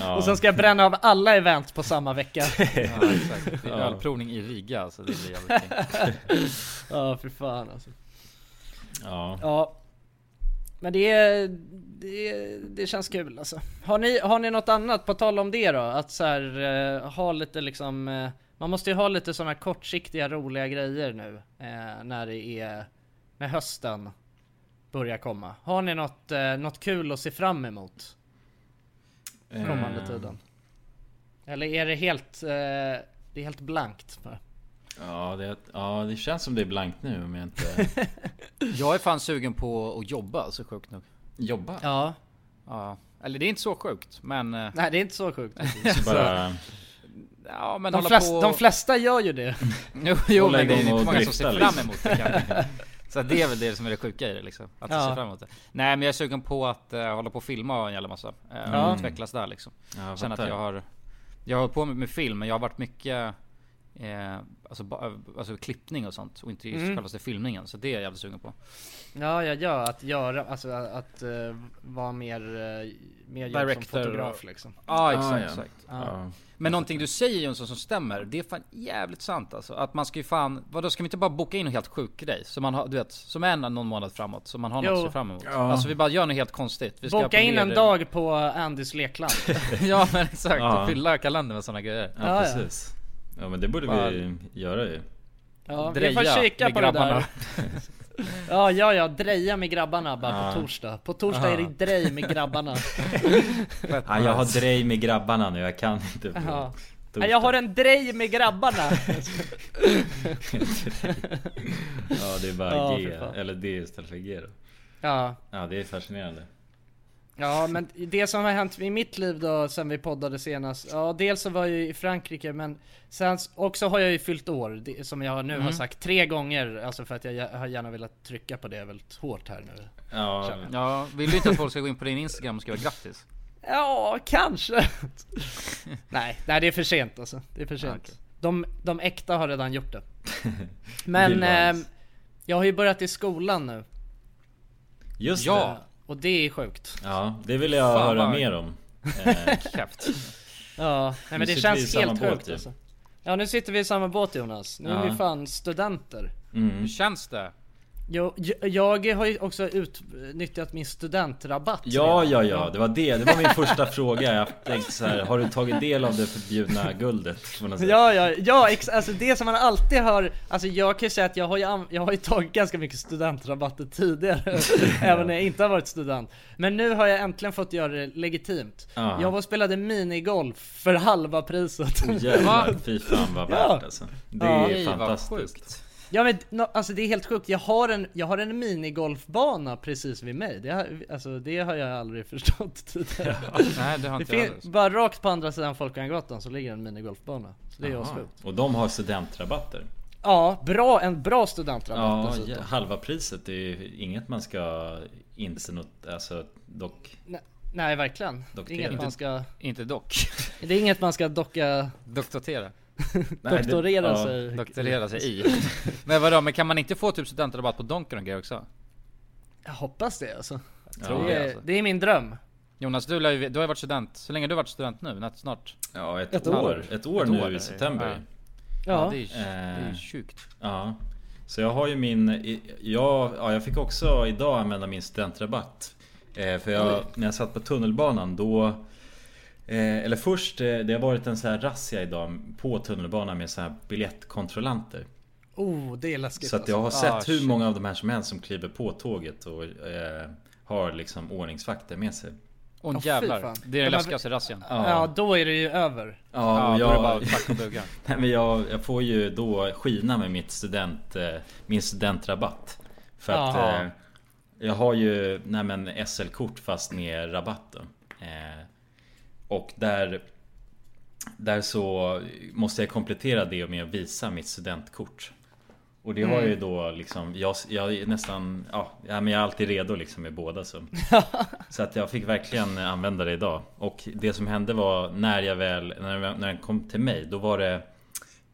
[SPEAKER 2] Ja.
[SPEAKER 1] Och sen ska jag bränna av alla event på samma vecka.
[SPEAKER 3] ja, exakt. Det är ölprovning i Riga alltså. Det blir jävligt kul.
[SPEAKER 1] Ja, fy fan alltså.
[SPEAKER 2] ja.
[SPEAKER 1] Ja Men det, är- det, är- det känns kul alltså har ni, har ni något annat på tal om det då? Att så här, eh, ha lite liksom eh, Man måste ju ha lite sådana kortsiktiga roliga grejer nu eh, När det är När hösten Börjar komma Har ni något, eh, något kul att se fram emot? Kommande
[SPEAKER 3] Mm.
[SPEAKER 2] Eh,
[SPEAKER 1] tiden Eller är det helt eh, Det är helt blankt?
[SPEAKER 2] Ja det, ja, det känns som det är blankt nu om jag inte
[SPEAKER 3] Jag är fan sugen på att jobba så sjukt nog.
[SPEAKER 2] jobbar.
[SPEAKER 1] Ja
[SPEAKER 3] Ja. Eller det är inte så sjukt men... eh,
[SPEAKER 1] Nej det är inte så sjukt
[SPEAKER 2] Så bara
[SPEAKER 3] Ja men
[SPEAKER 1] de,
[SPEAKER 3] hålla
[SPEAKER 1] flest,
[SPEAKER 3] på...
[SPEAKER 1] de flesta gör ju det
[SPEAKER 3] Jo, jo
[SPEAKER 2] Hålla
[SPEAKER 3] men det är
[SPEAKER 2] igång
[SPEAKER 3] inte
[SPEAKER 2] och
[SPEAKER 3] många som
[SPEAKER 2] drifta,
[SPEAKER 3] ser
[SPEAKER 2] liksom.
[SPEAKER 3] fram emot det kanske. Så det är väl det som är det sjuka i det liksom. Att
[SPEAKER 1] Ja.
[SPEAKER 3] se fram emot det. Nej men jag är sugen på att eh, hålla på och filma en jävla massa. eh, och Utvecklas där liksom.
[SPEAKER 2] Ja, jag
[SPEAKER 3] Känna att
[SPEAKER 2] fattar.
[SPEAKER 3] jag har... Jag har hållit på med, med film men jag har varit mycket... Eh, alltså, ba, alltså klippning och sånt och inte just självaste filmningen. Så det är jag jävligt sugen på.
[SPEAKER 1] Ja, ja, ja, att göra, alltså att, att eh, vara mer, eh, mer jobb som
[SPEAKER 3] Director
[SPEAKER 1] fotograf
[SPEAKER 3] och-
[SPEAKER 1] liksom.
[SPEAKER 3] Ah,
[SPEAKER 2] exakt,
[SPEAKER 3] exakt,
[SPEAKER 2] exakt.
[SPEAKER 3] exakt.
[SPEAKER 2] Ja.
[SPEAKER 3] Men någonting du säger Jonsson som stämmer, det är fan jävligt sant alltså. Att man ska ju fan, vadå ska vi inte bara boka in en helt sjuk grej? Som man har, du vet, som är någon månad framåt, som man har något
[SPEAKER 1] Jo.
[SPEAKER 3] att se fram emot. Alltså vi bara gör något helt konstigt. Vi
[SPEAKER 1] Boka
[SPEAKER 3] på
[SPEAKER 1] in en
[SPEAKER 3] ledig-
[SPEAKER 1] dag på Andys lekland.
[SPEAKER 3] ja men exakt,
[SPEAKER 2] Ja.
[SPEAKER 3] och fylla kalendern med sådana grejer.
[SPEAKER 2] Ja,
[SPEAKER 1] Ja, ja.
[SPEAKER 2] precis. Ja men det borde vi göra ju.
[SPEAKER 1] Ja, vi
[SPEAKER 3] Dreja
[SPEAKER 1] får kika
[SPEAKER 3] med
[SPEAKER 1] på det där.
[SPEAKER 3] grabbarna.
[SPEAKER 1] Ja, ja, ja, dreja med grabbarna bara
[SPEAKER 2] Ja.
[SPEAKER 1] på torsdag. På torsdag är det drej med grabbarna.
[SPEAKER 2] Ja, jag har drej med grabbarna nu, jag kan inte. på
[SPEAKER 1] Ja.
[SPEAKER 2] torsdag.
[SPEAKER 1] Nej, Jag har en drej med grabbarna.
[SPEAKER 2] Ja det är bara
[SPEAKER 1] Ja,
[SPEAKER 2] G,
[SPEAKER 1] för fan.
[SPEAKER 2] eller D istället för G då.
[SPEAKER 1] Ja.
[SPEAKER 2] Ja det är fascinerande.
[SPEAKER 1] Ja men det som har hänt i mitt liv då sen vi poddade senast Ja dels så var jag ju i Frankrike men sen s- också har jag ju fyllt år det, Som jag nu har sagt tre gånger Alltså för att jag gär- har gärna velat trycka på det väldigt hårt här nu
[SPEAKER 2] Ja,
[SPEAKER 3] Ja, vill du inte att folk ska gå in på din Instagram och skriva grattis?
[SPEAKER 1] Ja kanske Nej, nej det är för sent alltså Det är för sent de, de äkta har redan gjort det Men
[SPEAKER 2] Bill Vance.
[SPEAKER 1] ehm, Jag har ju börjat i skolan nu
[SPEAKER 2] just
[SPEAKER 3] Ja.
[SPEAKER 2] det.
[SPEAKER 1] Och det är sjukt
[SPEAKER 2] Ja, det vill jag
[SPEAKER 3] Fan,
[SPEAKER 2] höra
[SPEAKER 3] vad-
[SPEAKER 2] mer om.
[SPEAKER 3] Käft.
[SPEAKER 1] Ja, nej
[SPEAKER 2] Eh,
[SPEAKER 1] men
[SPEAKER 2] Nu
[SPEAKER 1] det
[SPEAKER 2] sitter vi i
[SPEAKER 1] känns
[SPEAKER 2] samma
[SPEAKER 1] helt
[SPEAKER 2] båt,
[SPEAKER 1] sjukt
[SPEAKER 2] ju.
[SPEAKER 1] alltså Ja nu sitter vi i samma båt Jonas, nu är
[SPEAKER 2] Ja. Mm.
[SPEAKER 1] vi fan studenter
[SPEAKER 3] Hur känns det?
[SPEAKER 1] Jag, jag, jag har ju också utnyttjat min studentrabatt
[SPEAKER 2] Ja,
[SPEAKER 1] redan.
[SPEAKER 2] ja, ja, det var det. Det var min första fråga. Jag tänkte så här, har du tagit del av det förbjudna guldet? På något sätt?
[SPEAKER 1] Ja, ja, ja, ex, alltså det som man alltid hör, alltså jag kan ju säga att jag har ju, an- jag har ju tagit ganska mycket studentrabatter tidigare, även när jag inte har varit student. Men nu har jag äntligen fått göra det legitimt.
[SPEAKER 2] Ja.
[SPEAKER 1] Jag var och spelade minigolf för halva priset.
[SPEAKER 2] Jävlar, fy fan vad värt alltså. Det
[SPEAKER 1] Ja.
[SPEAKER 2] är
[SPEAKER 3] Oj, vad
[SPEAKER 2] fantastiskt.
[SPEAKER 3] sjukt.
[SPEAKER 1] Ja men no, alltså det är helt sjukt, jag har en, jag har en minigolfbana precis vid mig. Det, har- alltså, det har jag aldrig förstått tidigare.
[SPEAKER 3] Nej det har
[SPEAKER 1] Det
[SPEAKER 3] inte jag
[SPEAKER 1] finns,
[SPEAKER 2] Alltså.
[SPEAKER 3] heller.
[SPEAKER 1] bara rakt på andra sidan Folkungagatan så ligger en minigolfbana. Så det är
[SPEAKER 2] Ja,
[SPEAKER 1] assjukt.
[SPEAKER 2] Och de har studentrabatter.
[SPEAKER 1] Ja, bra, en bra studentrabatt
[SPEAKER 2] Ja,
[SPEAKER 1] dessutom.
[SPEAKER 2] ja, halva priset är ju inget man ska inse något, alltså dock.
[SPEAKER 1] Nej, Nej verkligen.
[SPEAKER 2] Dock det är
[SPEAKER 1] Inget man
[SPEAKER 2] inte-
[SPEAKER 1] ska,
[SPEAKER 3] Inte dock.
[SPEAKER 1] det är inget man ska docka,
[SPEAKER 3] Doktorera.
[SPEAKER 2] Nej, det-
[SPEAKER 1] doktorera
[SPEAKER 2] ja.
[SPEAKER 1] sig.
[SPEAKER 3] Doktorera sig i. Men vadå, men kan man inte få typ studentrabatt på Donken och grejer också?
[SPEAKER 1] Jag hoppas det alltså.
[SPEAKER 2] tror
[SPEAKER 1] det,
[SPEAKER 2] det,
[SPEAKER 1] är,
[SPEAKER 3] alltså.
[SPEAKER 1] det är min dröm.
[SPEAKER 3] Jonas, du, lär ju- du har ju varit student. Så länge har du varit student nu? Nä- Snart?
[SPEAKER 2] Ja, ett,
[SPEAKER 1] Ett
[SPEAKER 2] år.
[SPEAKER 1] år.
[SPEAKER 2] Ett år
[SPEAKER 3] Ett
[SPEAKER 2] nu
[SPEAKER 3] år.
[SPEAKER 2] i september.
[SPEAKER 1] Ja.
[SPEAKER 3] det, är, det är ju sjukt.
[SPEAKER 2] Eh, Ja. Så jag har ju min, i- jag, ja, jag fick också idag använda min studentrabatt. Eh, för jag, när jag satt på tunnelbanan då eh, Eller först, eh, det har varit en sån här razzia idag på tunnelbanan med så här biljettkontrollanter.
[SPEAKER 1] Oh, det är läskigt
[SPEAKER 2] Så att jag
[SPEAKER 1] alltså.
[SPEAKER 2] har sett
[SPEAKER 3] Ah,
[SPEAKER 2] hur
[SPEAKER 3] shit.
[SPEAKER 2] många av de här som helst som kliver på tåget och eh, har liksom ordningsvakter med sig.
[SPEAKER 3] Åh
[SPEAKER 1] Åh, fy
[SPEAKER 3] jävlar.
[SPEAKER 1] fan.
[SPEAKER 3] Det är
[SPEAKER 1] Ja,
[SPEAKER 3] den
[SPEAKER 1] men-
[SPEAKER 3] läskigaste razzian. Ja,
[SPEAKER 1] Ja, då är det ju över.
[SPEAKER 2] Ja, och
[SPEAKER 3] då är det
[SPEAKER 2] jag,
[SPEAKER 3] bara tack och buga.
[SPEAKER 2] nej, men jag, jag får ju då skina med mitt student, eh, min studentrabatt. För att
[SPEAKER 1] Jaha.
[SPEAKER 2] eh, jag har ju nej, men SL-kort fast med rabatten. Eh, och där, där så måste jag komplettera det med att visa mitt studentkort. Och det har ju då liksom, jag, jag är nästan, ja, ja, men jag är alltid redo liksom med båda så. Så att jag fick verkligen använda det idag. Och det som hände var när jag väl, när, när den kom till mig, då var det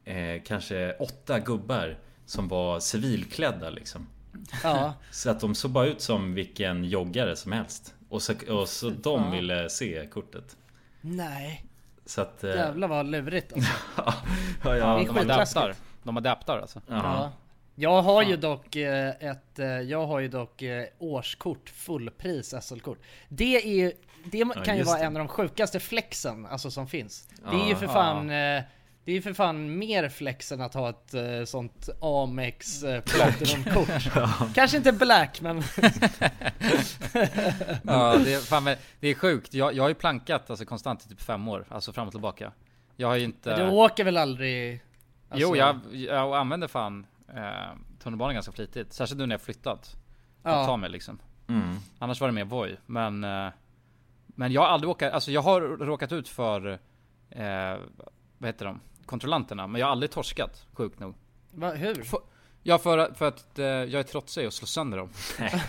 [SPEAKER 2] eh, kanske åtta gubbar som var civilklädda liksom.
[SPEAKER 1] Ja.
[SPEAKER 2] Så att de såg bara ut som vilken joggare som helst. Och så, och så de ville se kortet.
[SPEAKER 1] Nej,
[SPEAKER 2] Så att... eh,
[SPEAKER 1] jävlar vad lurigt alltså.
[SPEAKER 2] ja, ja,
[SPEAKER 1] Det är
[SPEAKER 3] De
[SPEAKER 1] skitläskigt.
[SPEAKER 3] adaptar. De adaptar alltså.
[SPEAKER 2] ja.
[SPEAKER 1] Ja. Jag har ju dock eh, ett, eh, jag har ju dock eh, årskort, fullpris SL-kort. Det är ju, det kan ju
[SPEAKER 2] just
[SPEAKER 1] vara
[SPEAKER 2] det.
[SPEAKER 1] en av de sjukaste flexen alltså som finns. det är ju
[SPEAKER 2] Ja.
[SPEAKER 1] för fan, eh, det är ju för fan mer flex än att ha ett eh, sånt Amex eh, Platinum-kort. Kanske inte black men,
[SPEAKER 3] Ja, det är, fan, men, det är sjukt. Jag, jag har ju plankat alltså, konstant i typ fem år. Alltså fram och tillbaka. Jag har ju inte...
[SPEAKER 1] du åker väl aldrig? alltså-
[SPEAKER 3] Jo, jag, jag använder fan eh, tunnelbanan ganska flitigt. Särskilt nu när jag flyttat. För
[SPEAKER 1] Ja.
[SPEAKER 3] att ta mig liksom. Annars var det mer Voi. Men, eh, men jag har aldrig åkat, alltså jag har råkat ut för, eh, vad heter de? Kontrollanterna. Men jag har aldrig torskat, sjukt nog.
[SPEAKER 1] Va, hur?
[SPEAKER 3] Ja, för, för att eh, jag är trotsig och slår sönder dem.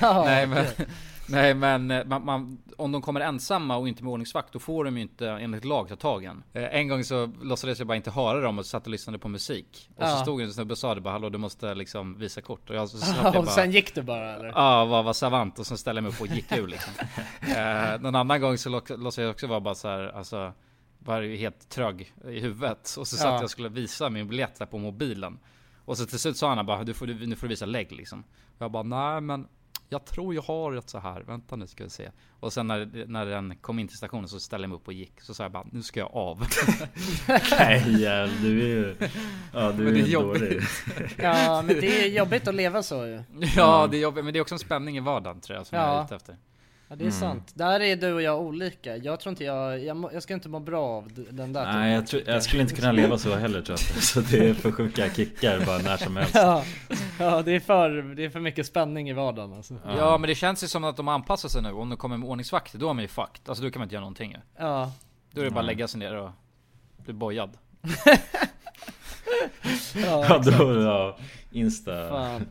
[SPEAKER 1] Ja,
[SPEAKER 3] nej, men, nej men eh, man, man, om de kommer ensamma och inte med ordningsvakt då får de ju inte enligt lag ta tag i en. Eh, En gång så låtsades jag bara inte höra dem och satt och lyssnade på musik. Och
[SPEAKER 1] Ja.
[SPEAKER 3] så stod en snubbe och sa det bara hallå du måste liksom visa kort. Och jag så slapp jag bara,
[SPEAKER 1] Och sen gick du bara eller?
[SPEAKER 3] Ja, var, var savant och sen ställde jag mig upp och gick ur liksom. eh, någon annan gång så låts- låtsades jag också vara bara så här, alltså var ju helt trög i huvudet. Och så satt
[SPEAKER 1] Ja.
[SPEAKER 3] jag och skulle visa min biljett där på mobilen. Och så till slut sa han bara, du får, du, nu får du visa lägg liksom. Och jag bara, nej men jag tror jag har ett så här, vänta nu ska vi se. Och sen när, när den kom in till stationen så ställde jag mig upp och gick. Så sa jag bara, nu ska jag av.
[SPEAKER 2] Nej, jävlar, du är ju... Ja, du
[SPEAKER 3] Men det är
[SPEAKER 2] är, är dålig.
[SPEAKER 3] jobbigt.
[SPEAKER 1] Ja men det är jobbigt att leva så ju.
[SPEAKER 3] ja, det är jobbigt, men det är också en spänning i vardagen tror jag som jag
[SPEAKER 1] Mm. Ja.
[SPEAKER 3] är ute efter.
[SPEAKER 1] Ja det är
[SPEAKER 7] Mm.
[SPEAKER 2] Mm.
[SPEAKER 1] sant. Där är du och jag olika. Jag tror inte jag, jag, må- jag ska inte må bra av d- den där
[SPEAKER 2] Nej, jag, tror, jag skulle inte kunna leva så heller tror jag. Så det är för sjuka kickar bara när som helst.
[SPEAKER 1] Ja, ja det, är för, det är för mycket spänning i vardagen alltså.
[SPEAKER 3] Ja men det känns ju som att de anpassar sig nu. Om de kommer med ordningsvakter då är man ju fucked. Alltså då kan man inte göra någonting ju.
[SPEAKER 1] Ja,
[SPEAKER 3] Då är det bara att lägga sig ner och bli bojad.
[SPEAKER 2] Ja, då, ja, Insta.
[SPEAKER 1] fan.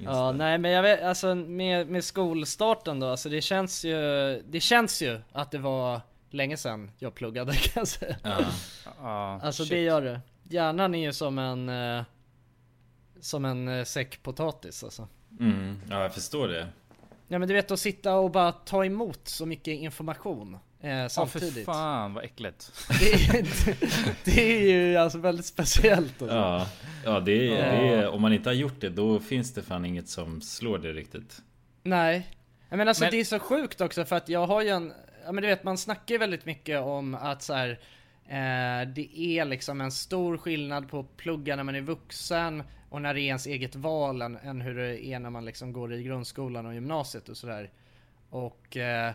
[SPEAKER 1] Ja, nej men jag vet, alltså med, med skolstarten då, alltså det känns ju, det känns ju att det var länge sedan jag pluggade kan jag säga.
[SPEAKER 2] Ja.
[SPEAKER 3] Ja,
[SPEAKER 1] Alltså
[SPEAKER 3] shit.
[SPEAKER 1] det gör det. Hjärnan är ju som en, eh, som en eh, säck potatis alltså.
[SPEAKER 2] Mm, ja, jag förstår det.
[SPEAKER 1] Ja men du vet att sitta och bara ta emot så mycket information eh,
[SPEAKER 3] Ja för
[SPEAKER 1] samtidigt.
[SPEAKER 3] fan vad äckligt.
[SPEAKER 1] Det är, det är ju alltså väldigt speciellt. Alltså.
[SPEAKER 2] Ja, ja, det, är- det är, om man inte har gjort det då finns det fan inget som slår det riktigt.
[SPEAKER 1] Nej. Ja, Men alltså
[SPEAKER 3] Men-
[SPEAKER 1] det är så sjukt också för att jag har ju en, ja men du vet man snackar ju väldigt mycket om att så här, eh, det är liksom en stor skillnad på att plugga när man är vuxen och när det är ens eget val än, än hur det är när man liksom går i grundskolan och gymnasiet och sådär. Och eh,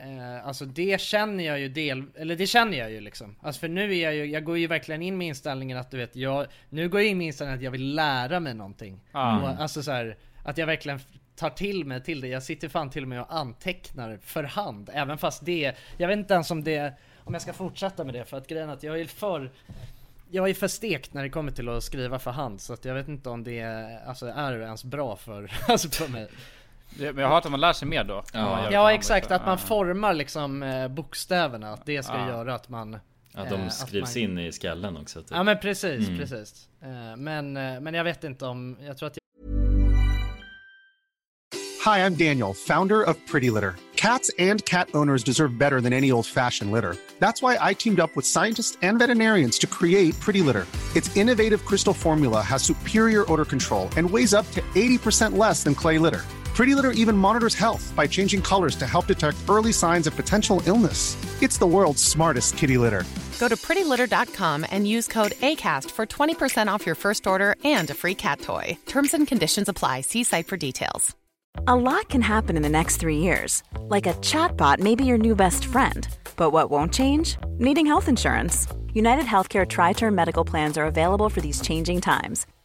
[SPEAKER 1] Eh, alltså det känner jag ju del, eller det känner jag ju liksom. Alltså för nu är jag ju, jag går ju verkligen in med inställningen att du vet, jag, nu går jag in med inställningen att jag vill lära mig någonting. Och, alltså så här, att jag verkligen f- tar till mig till det. Jag sitter fan till och med och antecknar för hand. Även fast det, jag vet inte ens om det, om jag ska fortsätta med det för att grejen är att jag är för, jag är för stekt när det kommer till att skriva för hand. Så att jag vet inte om det alltså, är ens bra för, alltså för mig.
[SPEAKER 3] Det- Men jag har hört att man lär sig mer då. Om man gör
[SPEAKER 1] Ja
[SPEAKER 3] fan
[SPEAKER 1] exakt,
[SPEAKER 3] lite.
[SPEAKER 1] att man formar liksom eh, bokstäverna, att det ska göra att man...
[SPEAKER 2] Att
[SPEAKER 1] eh,
[SPEAKER 2] de skrivs
[SPEAKER 1] man...
[SPEAKER 2] in i skallen också. Typ.
[SPEAKER 1] Ja men precis, precis. Eh, men, eh, men jag vet inte om, jag tror att
[SPEAKER 8] Hi, I'm Daniel, founder of Pretty Litter. Cats and cat owners deserve better than any old fashioned litter. That's why I teamed up with scientists and veterinarians to create Pretty Litter. Its innovative crystal formula has superior odor control and weighs up to 80% less than clay litter. Pretty Litter even monitors health by changing colors to help detect early signs of potential illness. It's the world's smartest kitty litter.
[SPEAKER 9] Go to prettylitter.com and use code ACAST for 20% off your first order and a free cat toy. Terms and conditions apply. See site for details.
[SPEAKER 10] A lot can happen in the next three years. Like a chatbot may be your new best friend. But what won't change? Needing health insurance. United Healthcare Tri Term Medical Plans are available for these changing times.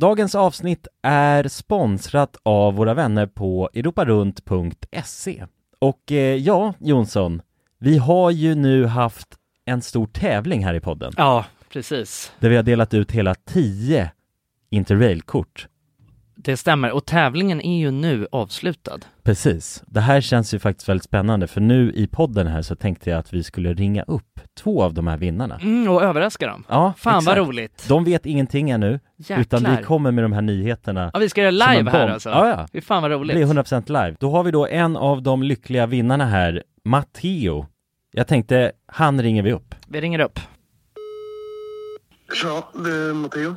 [SPEAKER 5] Dagens avsnitt är sponsrat av våra vänner på europarunt.se. Och eh, ja, Jonsson, vi har ju nu haft en stor tävling här i podden.
[SPEAKER 11] Ja, precis.
[SPEAKER 5] Där vi har delat ut hela 10 Interrail-kort.
[SPEAKER 4] Det stämmer, och tävlingen är ju nu avslutad.
[SPEAKER 5] Precis. Det här känns ju faktiskt väldigt spännande för nu i podden här så tänkte jag att vi skulle ringa upp två av de här vinnarna.
[SPEAKER 4] Mm, och överraska dem.
[SPEAKER 5] Ja,
[SPEAKER 4] Fan
[SPEAKER 5] exakt.
[SPEAKER 4] vad roligt.
[SPEAKER 5] De vet ingenting ännu, utan
[SPEAKER 4] Jäklar.
[SPEAKER 5] vi kommer med de här nyheterna.
[SPEAKER 4] Ja, vi ska göra
[SPEAKER 5] som en
[SPEAKER 4] live här
[SPEAKER 5] bomb.
[SPEAKER 4] alltså.
[SPEAKER 5] Ja, ja.
[SPEAKER 4] Fy fan vad
[SPEAKER 5] Det
[SPEAKER 4] roligt.
[SPEAKER 5] blir 100% live. Då har vi då en av de lyckliga vinnarna här, Matteo. Jag tänkte, han ringer vi upp.
[SPEAKER 4] Vi ringer upp.
[SPEAKER 12] Ja, det är Matteo.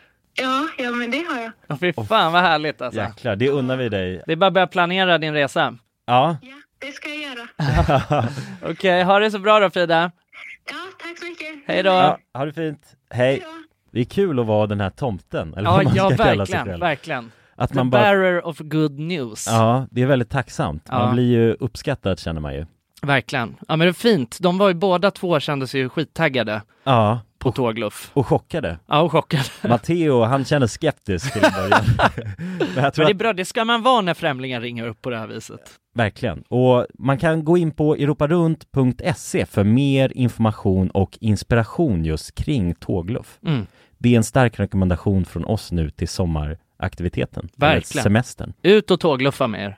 [SPEAKER 13] Ja, ja, men det har jag.
[SPEAKER 4] Ja. Fy Oh. fan vad härligt alltså.
[SPEAKER 5] Jäklar, det unnar vi dig.
[SPEAKER 4] Det är bara att börja planera din resa.
[SPEAKER 5] Ja.
[SPEAKER 13] Det ska jag göra.
[SPEAKER 4] Okej, ha det så bra då Frida.
[SPEAKER 13] Ja, tack så mycket.
[SPEAKER 4] Hej då.
[SPEAKER 5] ja ha det fint. Hej. Det är kul att vara den här tomten, eller
[SPEAKER 4] Ja,
[SPEAKER 5] vad man
[SPEAKER 4] ja
[SPEAKER 5] ska kalla sig
[SPEAKER 4] verkligen,
[SPEAKER 5] själv.
[SPEAKER 4] verkligen.
[SPEAKER 5] Att
[SPEAKER 4] The
[SPEAKER 5] man bara,
[SPEAKER 4] bearer of good news.
[SPEAKER 5] ja, det är väldigt tacksamt.
[SPEAKER 4] Ja.
[SPEAKER 5] Man blir ju uppskattad känner man ju.
[SPEAKER 4] Verkligen. Ja men det är fint. De var ju båda två kändes ju skittaggade
[SPEAKER 5] Ja.
[SPEAKER 4] på tågluff.
[SPEAKER 5] Och chockade.
[SPEAKER 4] Ja, och chockade.
[SPEAKER 5] Matteo, han kände skeptisk till en början. Men jag tror
[SPEAKER 4] Men det är
[SPEAKER 5] att,
[SPEAKER 4] bra, det ska man vara när främlingar ringer upp på det här viset.
[SPEAKER 5] verkligen. Och man kan gå in på europarunt.se för mer information och inspiration just kring tågluff.
[SPEAKER 4] Mm.
[SPEAKER 5] Det är en stark rekommendation från oss nu till sommaraktiviteten. eller
[SPEAKER 4] Verkligen.
[SPEAKER 5] Semestern.
[SPEAKER 4] Ut och tågluffa med er.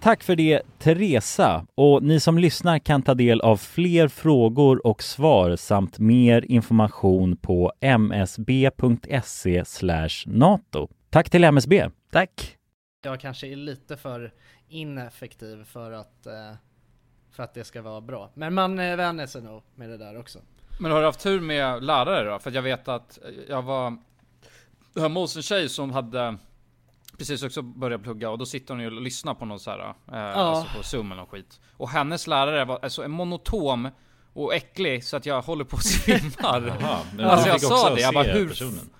[SPEAKER 5] Tack för det Teresa och ni som lyssnar kan ta del av fler frågor och svar samt mer information på msb.se E nato. Tack till MSB.
[SPEAKER 4] Tack.
[SPEAKER 1] Jag kanske är lite för ineffektiv för att, eh, för att det ska vara bra. Men man eh, vänjer sig nog med det där också.
[SPEAKER 3] Men har du haft tur med lärare då? För att jag vet att jag var hemma hos en tjej som hade precis också börjat plugga och då sitter hon ju och lyssnar på någon så här, eh, alltså på zoom eller någon skit. Och hennes lärare var alltså en monotom och äcklig så att jag håller på att svimmar.
[SPEAKER 2] Jaha, men du
[SPEAKER 3] alltså jag
[SPEAKER 2] fick
[SPEAKER 3] sa
[SPEAKER 2] också
[SPEAKER 3] det, jag bara
[SPEAKER 2] se
[SPEAKER 3] hur...
[SPEAKER 2] personen?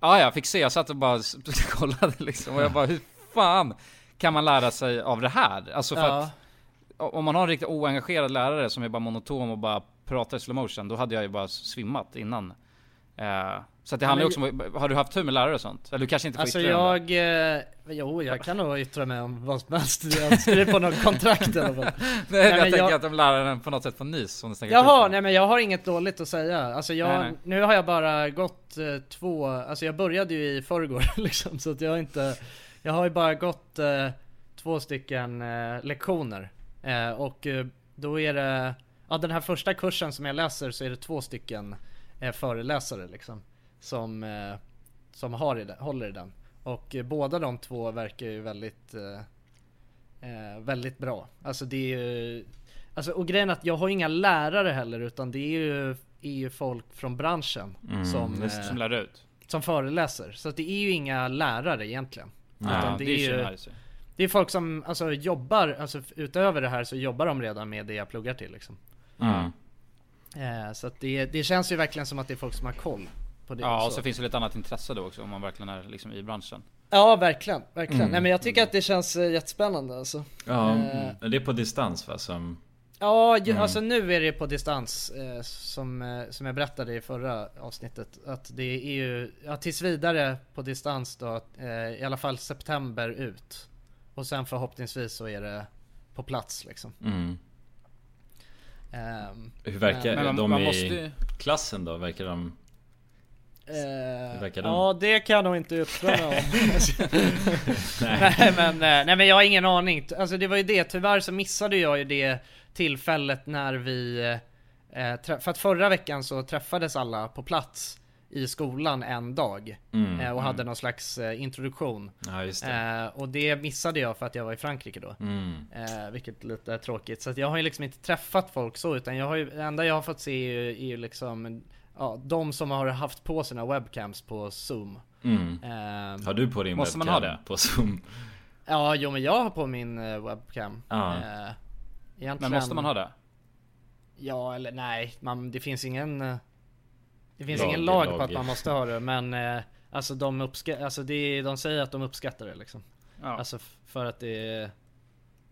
[SPEAKER 3] Ja, jag fick se, jag satt och bara s- kollade liksom och jag bara hur fan kan man lära sig av det här? Alltså för
[SPEAKER 1] Ja.
[SPEAKER 3] att om man har en riktigt oengagerad lärare som är bara monotom och bara pratar i slow motion, då hade jag ju bara svimmat innan. Eh, så att det
[SPEAKER 1] Ja,
[SPEAKER 3] handlar ju också
[SPEAKER 1] men-
[SPEAKER 3] om, har du haft tur med lärare och sånt? Eller du kanske inte får
[SPEAKER 1] Alltså
[SPEAKER 3] yttra dig om det?
[SPEAKER 1] jag, eh, jo jag kan nog yttra mig om vad som helst. Jag skriver på något kontrakt eller vad.
[SPEAKER 3] Nej, men jag tänker att de läraren på något sätt får nys om det snackar skit.
[SPEAKER 1] Jaha, nej men jag har inget dåligt att säga. Alltså jag,
[SPEAKER 3] Nej, nej.
[SPEAKER 1] nu har jag bara gått eh, två, alltså jag började ju i förrgår liksom så att jag har inte, jag har ju bara gått eh, två stycken eh, lektioner. Eh, och eh, då är det, ja den här första kursen som jag läser så är det två stycken eh, föreläsare liksom. Som, eh, som har i den, håller i den. Och eh, båda de två verkar ju väldigt eh, Eh, väldigt bra. Alltså det är ju... Alltså, och grejen är att jag har inga lärare heller utan det är ju, är ju folk från branschen
[SPEAKER 3] Mm,
[SPEAKER 1] som, eh,
[SPEAKER 3] just det. Som lär ut.
[SPEAKER 1] Som föreläser. Så att det är ju inga lärare egentligen.
[SPEAKER 3] Nej, det är ju nice.
[SPEAKER 1] Det är folk som alltså, jobbar, alltså f- utöver det här så jobbar de redan med det jag pluggar till liksom.
[SPEAKER 2] Mm.
[SPEAKER 1] Eh, så att det, det känns ju verkligen som att det är folk som har koll på det.
[SPEAKER 3] Ja, och
[SPEAKER 1] också.
[SPEAKER 3] så finns det lite annat intresse då också om man verkligen är liksom i branschen.
[SPEAKER 1] Ja, verkligen. verkligen.
[SPEAKER 2] Mm.
[SPEAKER 1] Nej, men jag tycker att det känns eh, jättespännande alltså.
[SPEAKER 2] Ja,
[SPEAKER 1] Eh,
[SPEAKER 3] Mm.
[SPEAKER 2] det är på distans va? Som...
[SPEAKER 1] Ja, ju,
[SPEAKER 2] Mm.
[SPEAKER 1] alltså nu är det på distans eh, som, eh, som jag berättade i förra avsnittet. Att det är ju ja, tills vidare på distans då, eh, i alla fall september ut. Och sen förhoppningsvis så är det på plats liksom.
[SPEAKER 2] Mm.
[SPEAKER 1] Ehm,
[SPEAKER 2] Hur verkar
[SPEAKER 1] men-
[SPEAKER 2] de i
[SPEAKER 1] måste-
[SPEAKER 2] klassen då? Verkar de...
[SPEAKER 1] Eh,
[SPEAKER 2] Hur verkar de?
[SPEAKER 1] ja det kan jag nog inte yttra mig om.
[SPEAKER 2] Nej.
[SPEAKER 1] nej. men, eh, nej men jag har ingen aning. Alltså det var ju det, tyvärr så missade jag ju det tillfället när vi... Eh, trä- för att förra veckan så träffades alla på plats i skolan en dag.
[SPEAKER 2] Mm,
[SPEAKER 1] eh, och
[SPEAKER 2] mm.
[SPEAKER 1] hade någon slags eh, introduktion.
[SPEAKER 2] Ja, just det.
[SPEAKER 1] Eh, och det missade jag för att jag var i Frankrike då.
[SPEAKER 2] Mm.
[SPEAKER 1] Eh, vilket lite är tråkigt. Så att jag har ju liksom inte träffat folk så utan jag har ju, det enda jag har fått se är ju, är ju liksom Ja, de som har haft på sina webcams på zoom.
[SPEAKER 2] Mm.
[SPEAKER 1] Ehm,
[SPEAKER 2] Har du på din
[SPEAKER 1] måste
[SPEAKER 2] webcam
[SPEAKER 1] man ha det?
[SPEAKER 2] på zoom?
[SPEAKER 1] Ja, jo men jag har på min eh, webcam.
[SPEAKER 2] Ja.
[SPEAKER 1] Eh, egentligen-
[SPEAKER 3] Men måste man ha det?
[SPEAKER 1] Ja eller nej, man, det finns ingen... eh, Det finns
[SPEAKER 3] Lag-
[SPEAKER 1] ingen lag,
[SPEAKER 3] lag.
[SPEAKER 1] på att man måste ha det men eh, Alltså de uppskattar, alltså det, är- de säger att de uppskattar det liksom. Alltså f- för att det är...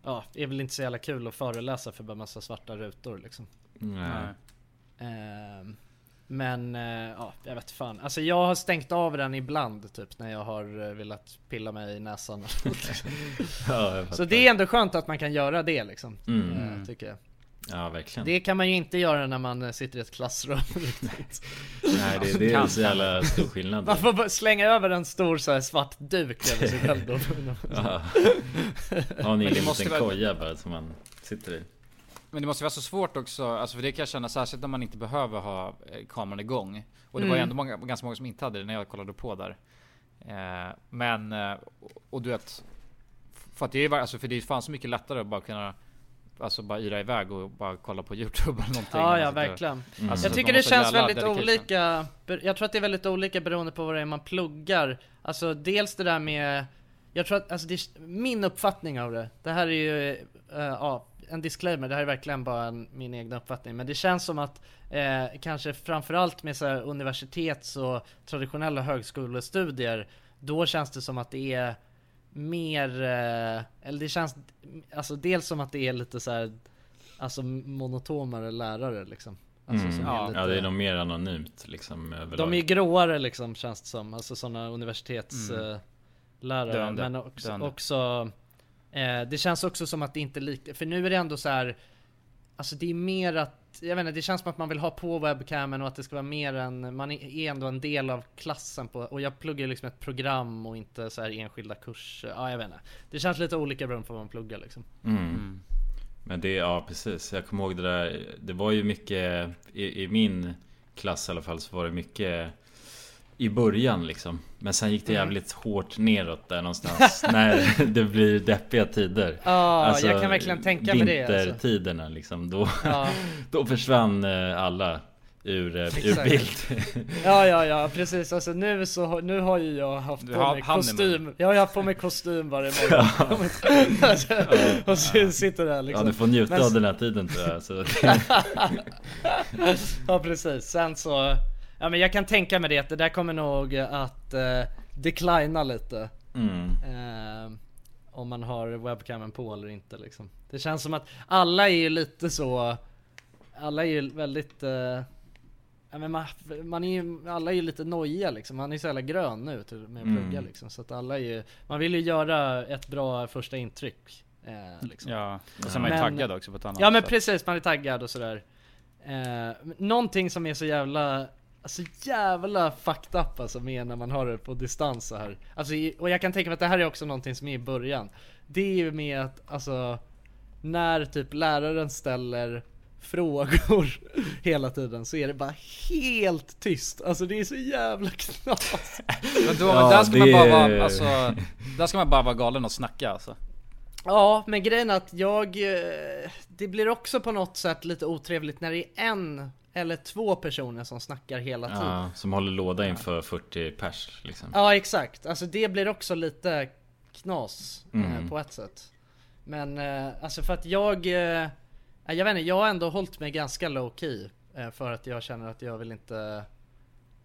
[SPEAKER 1] Ja, det är väl inte så jävla kul att föreläsa för bara massa svarta rutor liksom.
[SPEAKER 2] Nej.
[SPEAKER 1] Ehm, men eh, ja, jag vet fan. Alltså jag har stängt av den ibland typ när jag har eh, velat pilla mig i näsan.
[SPEAKER 2] Ja, jag
[SPEAKER 1] så
[SPEAKER 2] fattar.
[SPEAKER 1] det är ändå skönt att man kan göra det liksom.
[SPEAKER 2] Mm.
[SPEAKER 1] eh, Tycker jag.
[SPEAKER 2] Ja, verkligen.
[SPEAKER 1] Det kan man ju inte göra när man eh, sitter i ett klassrum riktigt.
[SPEAKER 2] Nej, det, det är så jävla stor skillnad.
[SPEAKER 1] Man får bara slänga över en stor så här, svart duk över sig själv då.
[SPEAKER 2] Ja. Har ni
[SPEAKER 3] Men
[SPEAKER 2] en
[SPEAKER 3] det måste
[SPEAKER 2] liten
[SPEAKER 3] väl-
[SPEAKER 2] koja bara som man sitter i?
[SPEAKER 3] Men det måste vara så svårt också, alltså för det kan jag känna särskilt när man inte behöver ha eh, kameran igång. Och det var ju
[SPEAKER 1] Mm.
[SPEAKER 3] ändå många, ganska många som inte hade det när jag kollade på där. Eh, men, eh, och, och du vet. För att det är ju, alltså för det är fan så mycket lättare att bara kunna Alltså bara yra iväg och bara kolla på youtube eller någonting.
[SPEAKER 1] Ja, ja
[SPEAKER 3] Alltså, det-
[SPEAKER 2] Mm.
[SPEAKER 1] verkligen.
[SPEAKER 3] Alltså,
[SPEAKER 1] jag
[SPEAKER 3] så
[SPEAKER 1] tycker
[SPEAKER 3] man
[SPEAKER 1] det
[SPEAKER 3] måste
[SPEAKER 1] känns
[SPEAKER 3] jävla
[SPEAKER 1] väldigt
[SPEAKER 3] dedication.
[SPEAKER 1] olika. be- Jag tror att det är väldigt olika beroende på vad det är man pluggar. Alltså dels det där med... Jag tror att, alltså det, är- min uppfattning av det. Det här är ju, eh, ja, en disclaimer. Det här är verkligen bara en, min egna uppfattning. Men det känns som att eh, kanske framförallt med så här universitets och traditionella högskolestudier. Då känns det som att det är mer, eh, eller det känns, alltså dels som att det är lite så här, alltså monotomare lärare liksom. Alltså,
[SPEAKER 2] Mm.
[SPEAKER 1] som är
[SPEAKER 2] ja.
[SPEAKER 1] lite-
[SPEAKER 2] det är nog mer anonymt liksom överlag.
[SPEAKER 1] de är gråare liksom känns det som, alltså sådana universitetslärare.
[SPEAKER 2] Mm.
[SPEAKER 3] Döende.
[SPEAKER 1] Men också,
[SPEAKER 3] Döende.
[SPEAKER 1] också eh, det känns också som att det inte är likt, för nu är det ändå så här Alltså det är mer att, jag vet inte, det känns som att man vill ha på webcamen och att det ska vara mer än, man är ändå en del av klassen på, och jag pluggar ju liksom ett program och inte så här enskilda kurser, ja jag vet inte. Det känns lite olika beroende på vad man pluggar liksom.
[SPEAKER 2] Mm. Men det, ja precis. Jag kommer ihåg det där. Det var ju mycket, i, i min klass i alla fall, så var det mycket i början liksom. Men sen gick det
[SPEAKER 1] Mm.
[SPEAKER 2] jävligt hårt neråt där någonstans. när det blir deppiga tider. Alltså,
[SPEAKER 1] Ja, jag kan verkligen tänka mig det, alltså.
[SPEAKER 2] Vintertiderna liksom. Då,
[SPEAKER 1] Ja.
[SPEAKER 2] då försvann eh, alla ur, eh, ur
[SPEAKER 1] Exakt.
[SPEAKER 2] bild.
[SPEAKER 1] Ja, ja, ja, precis. Alltså nu så har- nu har ju jag haft
[SPEAKER 3] Du
[SPEAKER 1] på
[SPEAKER 3] har
[SPEAKER 1] mig
[SPEAKER 3] honeymoon.
[SPEAKER 1] kostym. Jag har ju haft på mig kostym varje morgon. Alltså, och så sitter där liksom.
[SPEAKER 2] Ja du får njuta
[SPEAKER 1] Men-
[SPEAKER 2] av den här tiden tror jag. Så.
[SPEAKER 1] ja precis, sen så Ja men jag kan tänka mig det, att det där kommer nog att eh, declina lite
[SPEAKER 2] Mm.
[SPEAKER 1] eh, Om man har webcamen på eller inte liksom Det känns som att alla är ju lite så Alla är ju väldigt eh, ja, men man, man är ju, alla är ju lite nojiga liksom, man är ju så jävla grön nu till- med att
[SPEAKER 2] Mm.
[SPEAKER 1] plugga liksom Så att alla är ju, man vill ju göra ett bra första intryck eh, liksom.
[SPEAKER 3] Ja, och sen är man ju
[SPEAKER 1] Men-
[SPEAKER 3] taggad också på ett annat
[SPEAKER 1] Ja men
[SPEAKER 3] sätt.
[SPEAKER 1] precis, man är taggad och sådär. Eh, men någonting som är så jävla, alltså jävla fucked up alltså med när man har det på distans så här. Alltså, i- och jag kan tänka mig att det här är också någonting som är i början. Det är ju med att, alltså, när typ läraren ställer frågor hela tiden så är det bara helt tyst. Alltså det är så jävla knas.
[SPEAKER 3] Men då, men där ska man bara vara, alltså, där ska man bara vara galen och snacka alltså.
[SPEAKER 1] Ja, men grejen är att jag... eh, Det blir också på något sätt lite otrevligt när det är en eller två personer som snackar hela tiden.
[SPEAKER 2] Ja, som håller låda inför 40 pers liksom.
[SPEAKER 1] Ja, exakt. Alltså det blir också lite knas eh,
[SPEAKER 2] Mm.
[SPEAKER 1] på ett sätt. Men eh, alltså för att jag... eh, Jag vet inte, jag har ändå hållit mig ganska low key. eh, För att jag känner att jag vill inte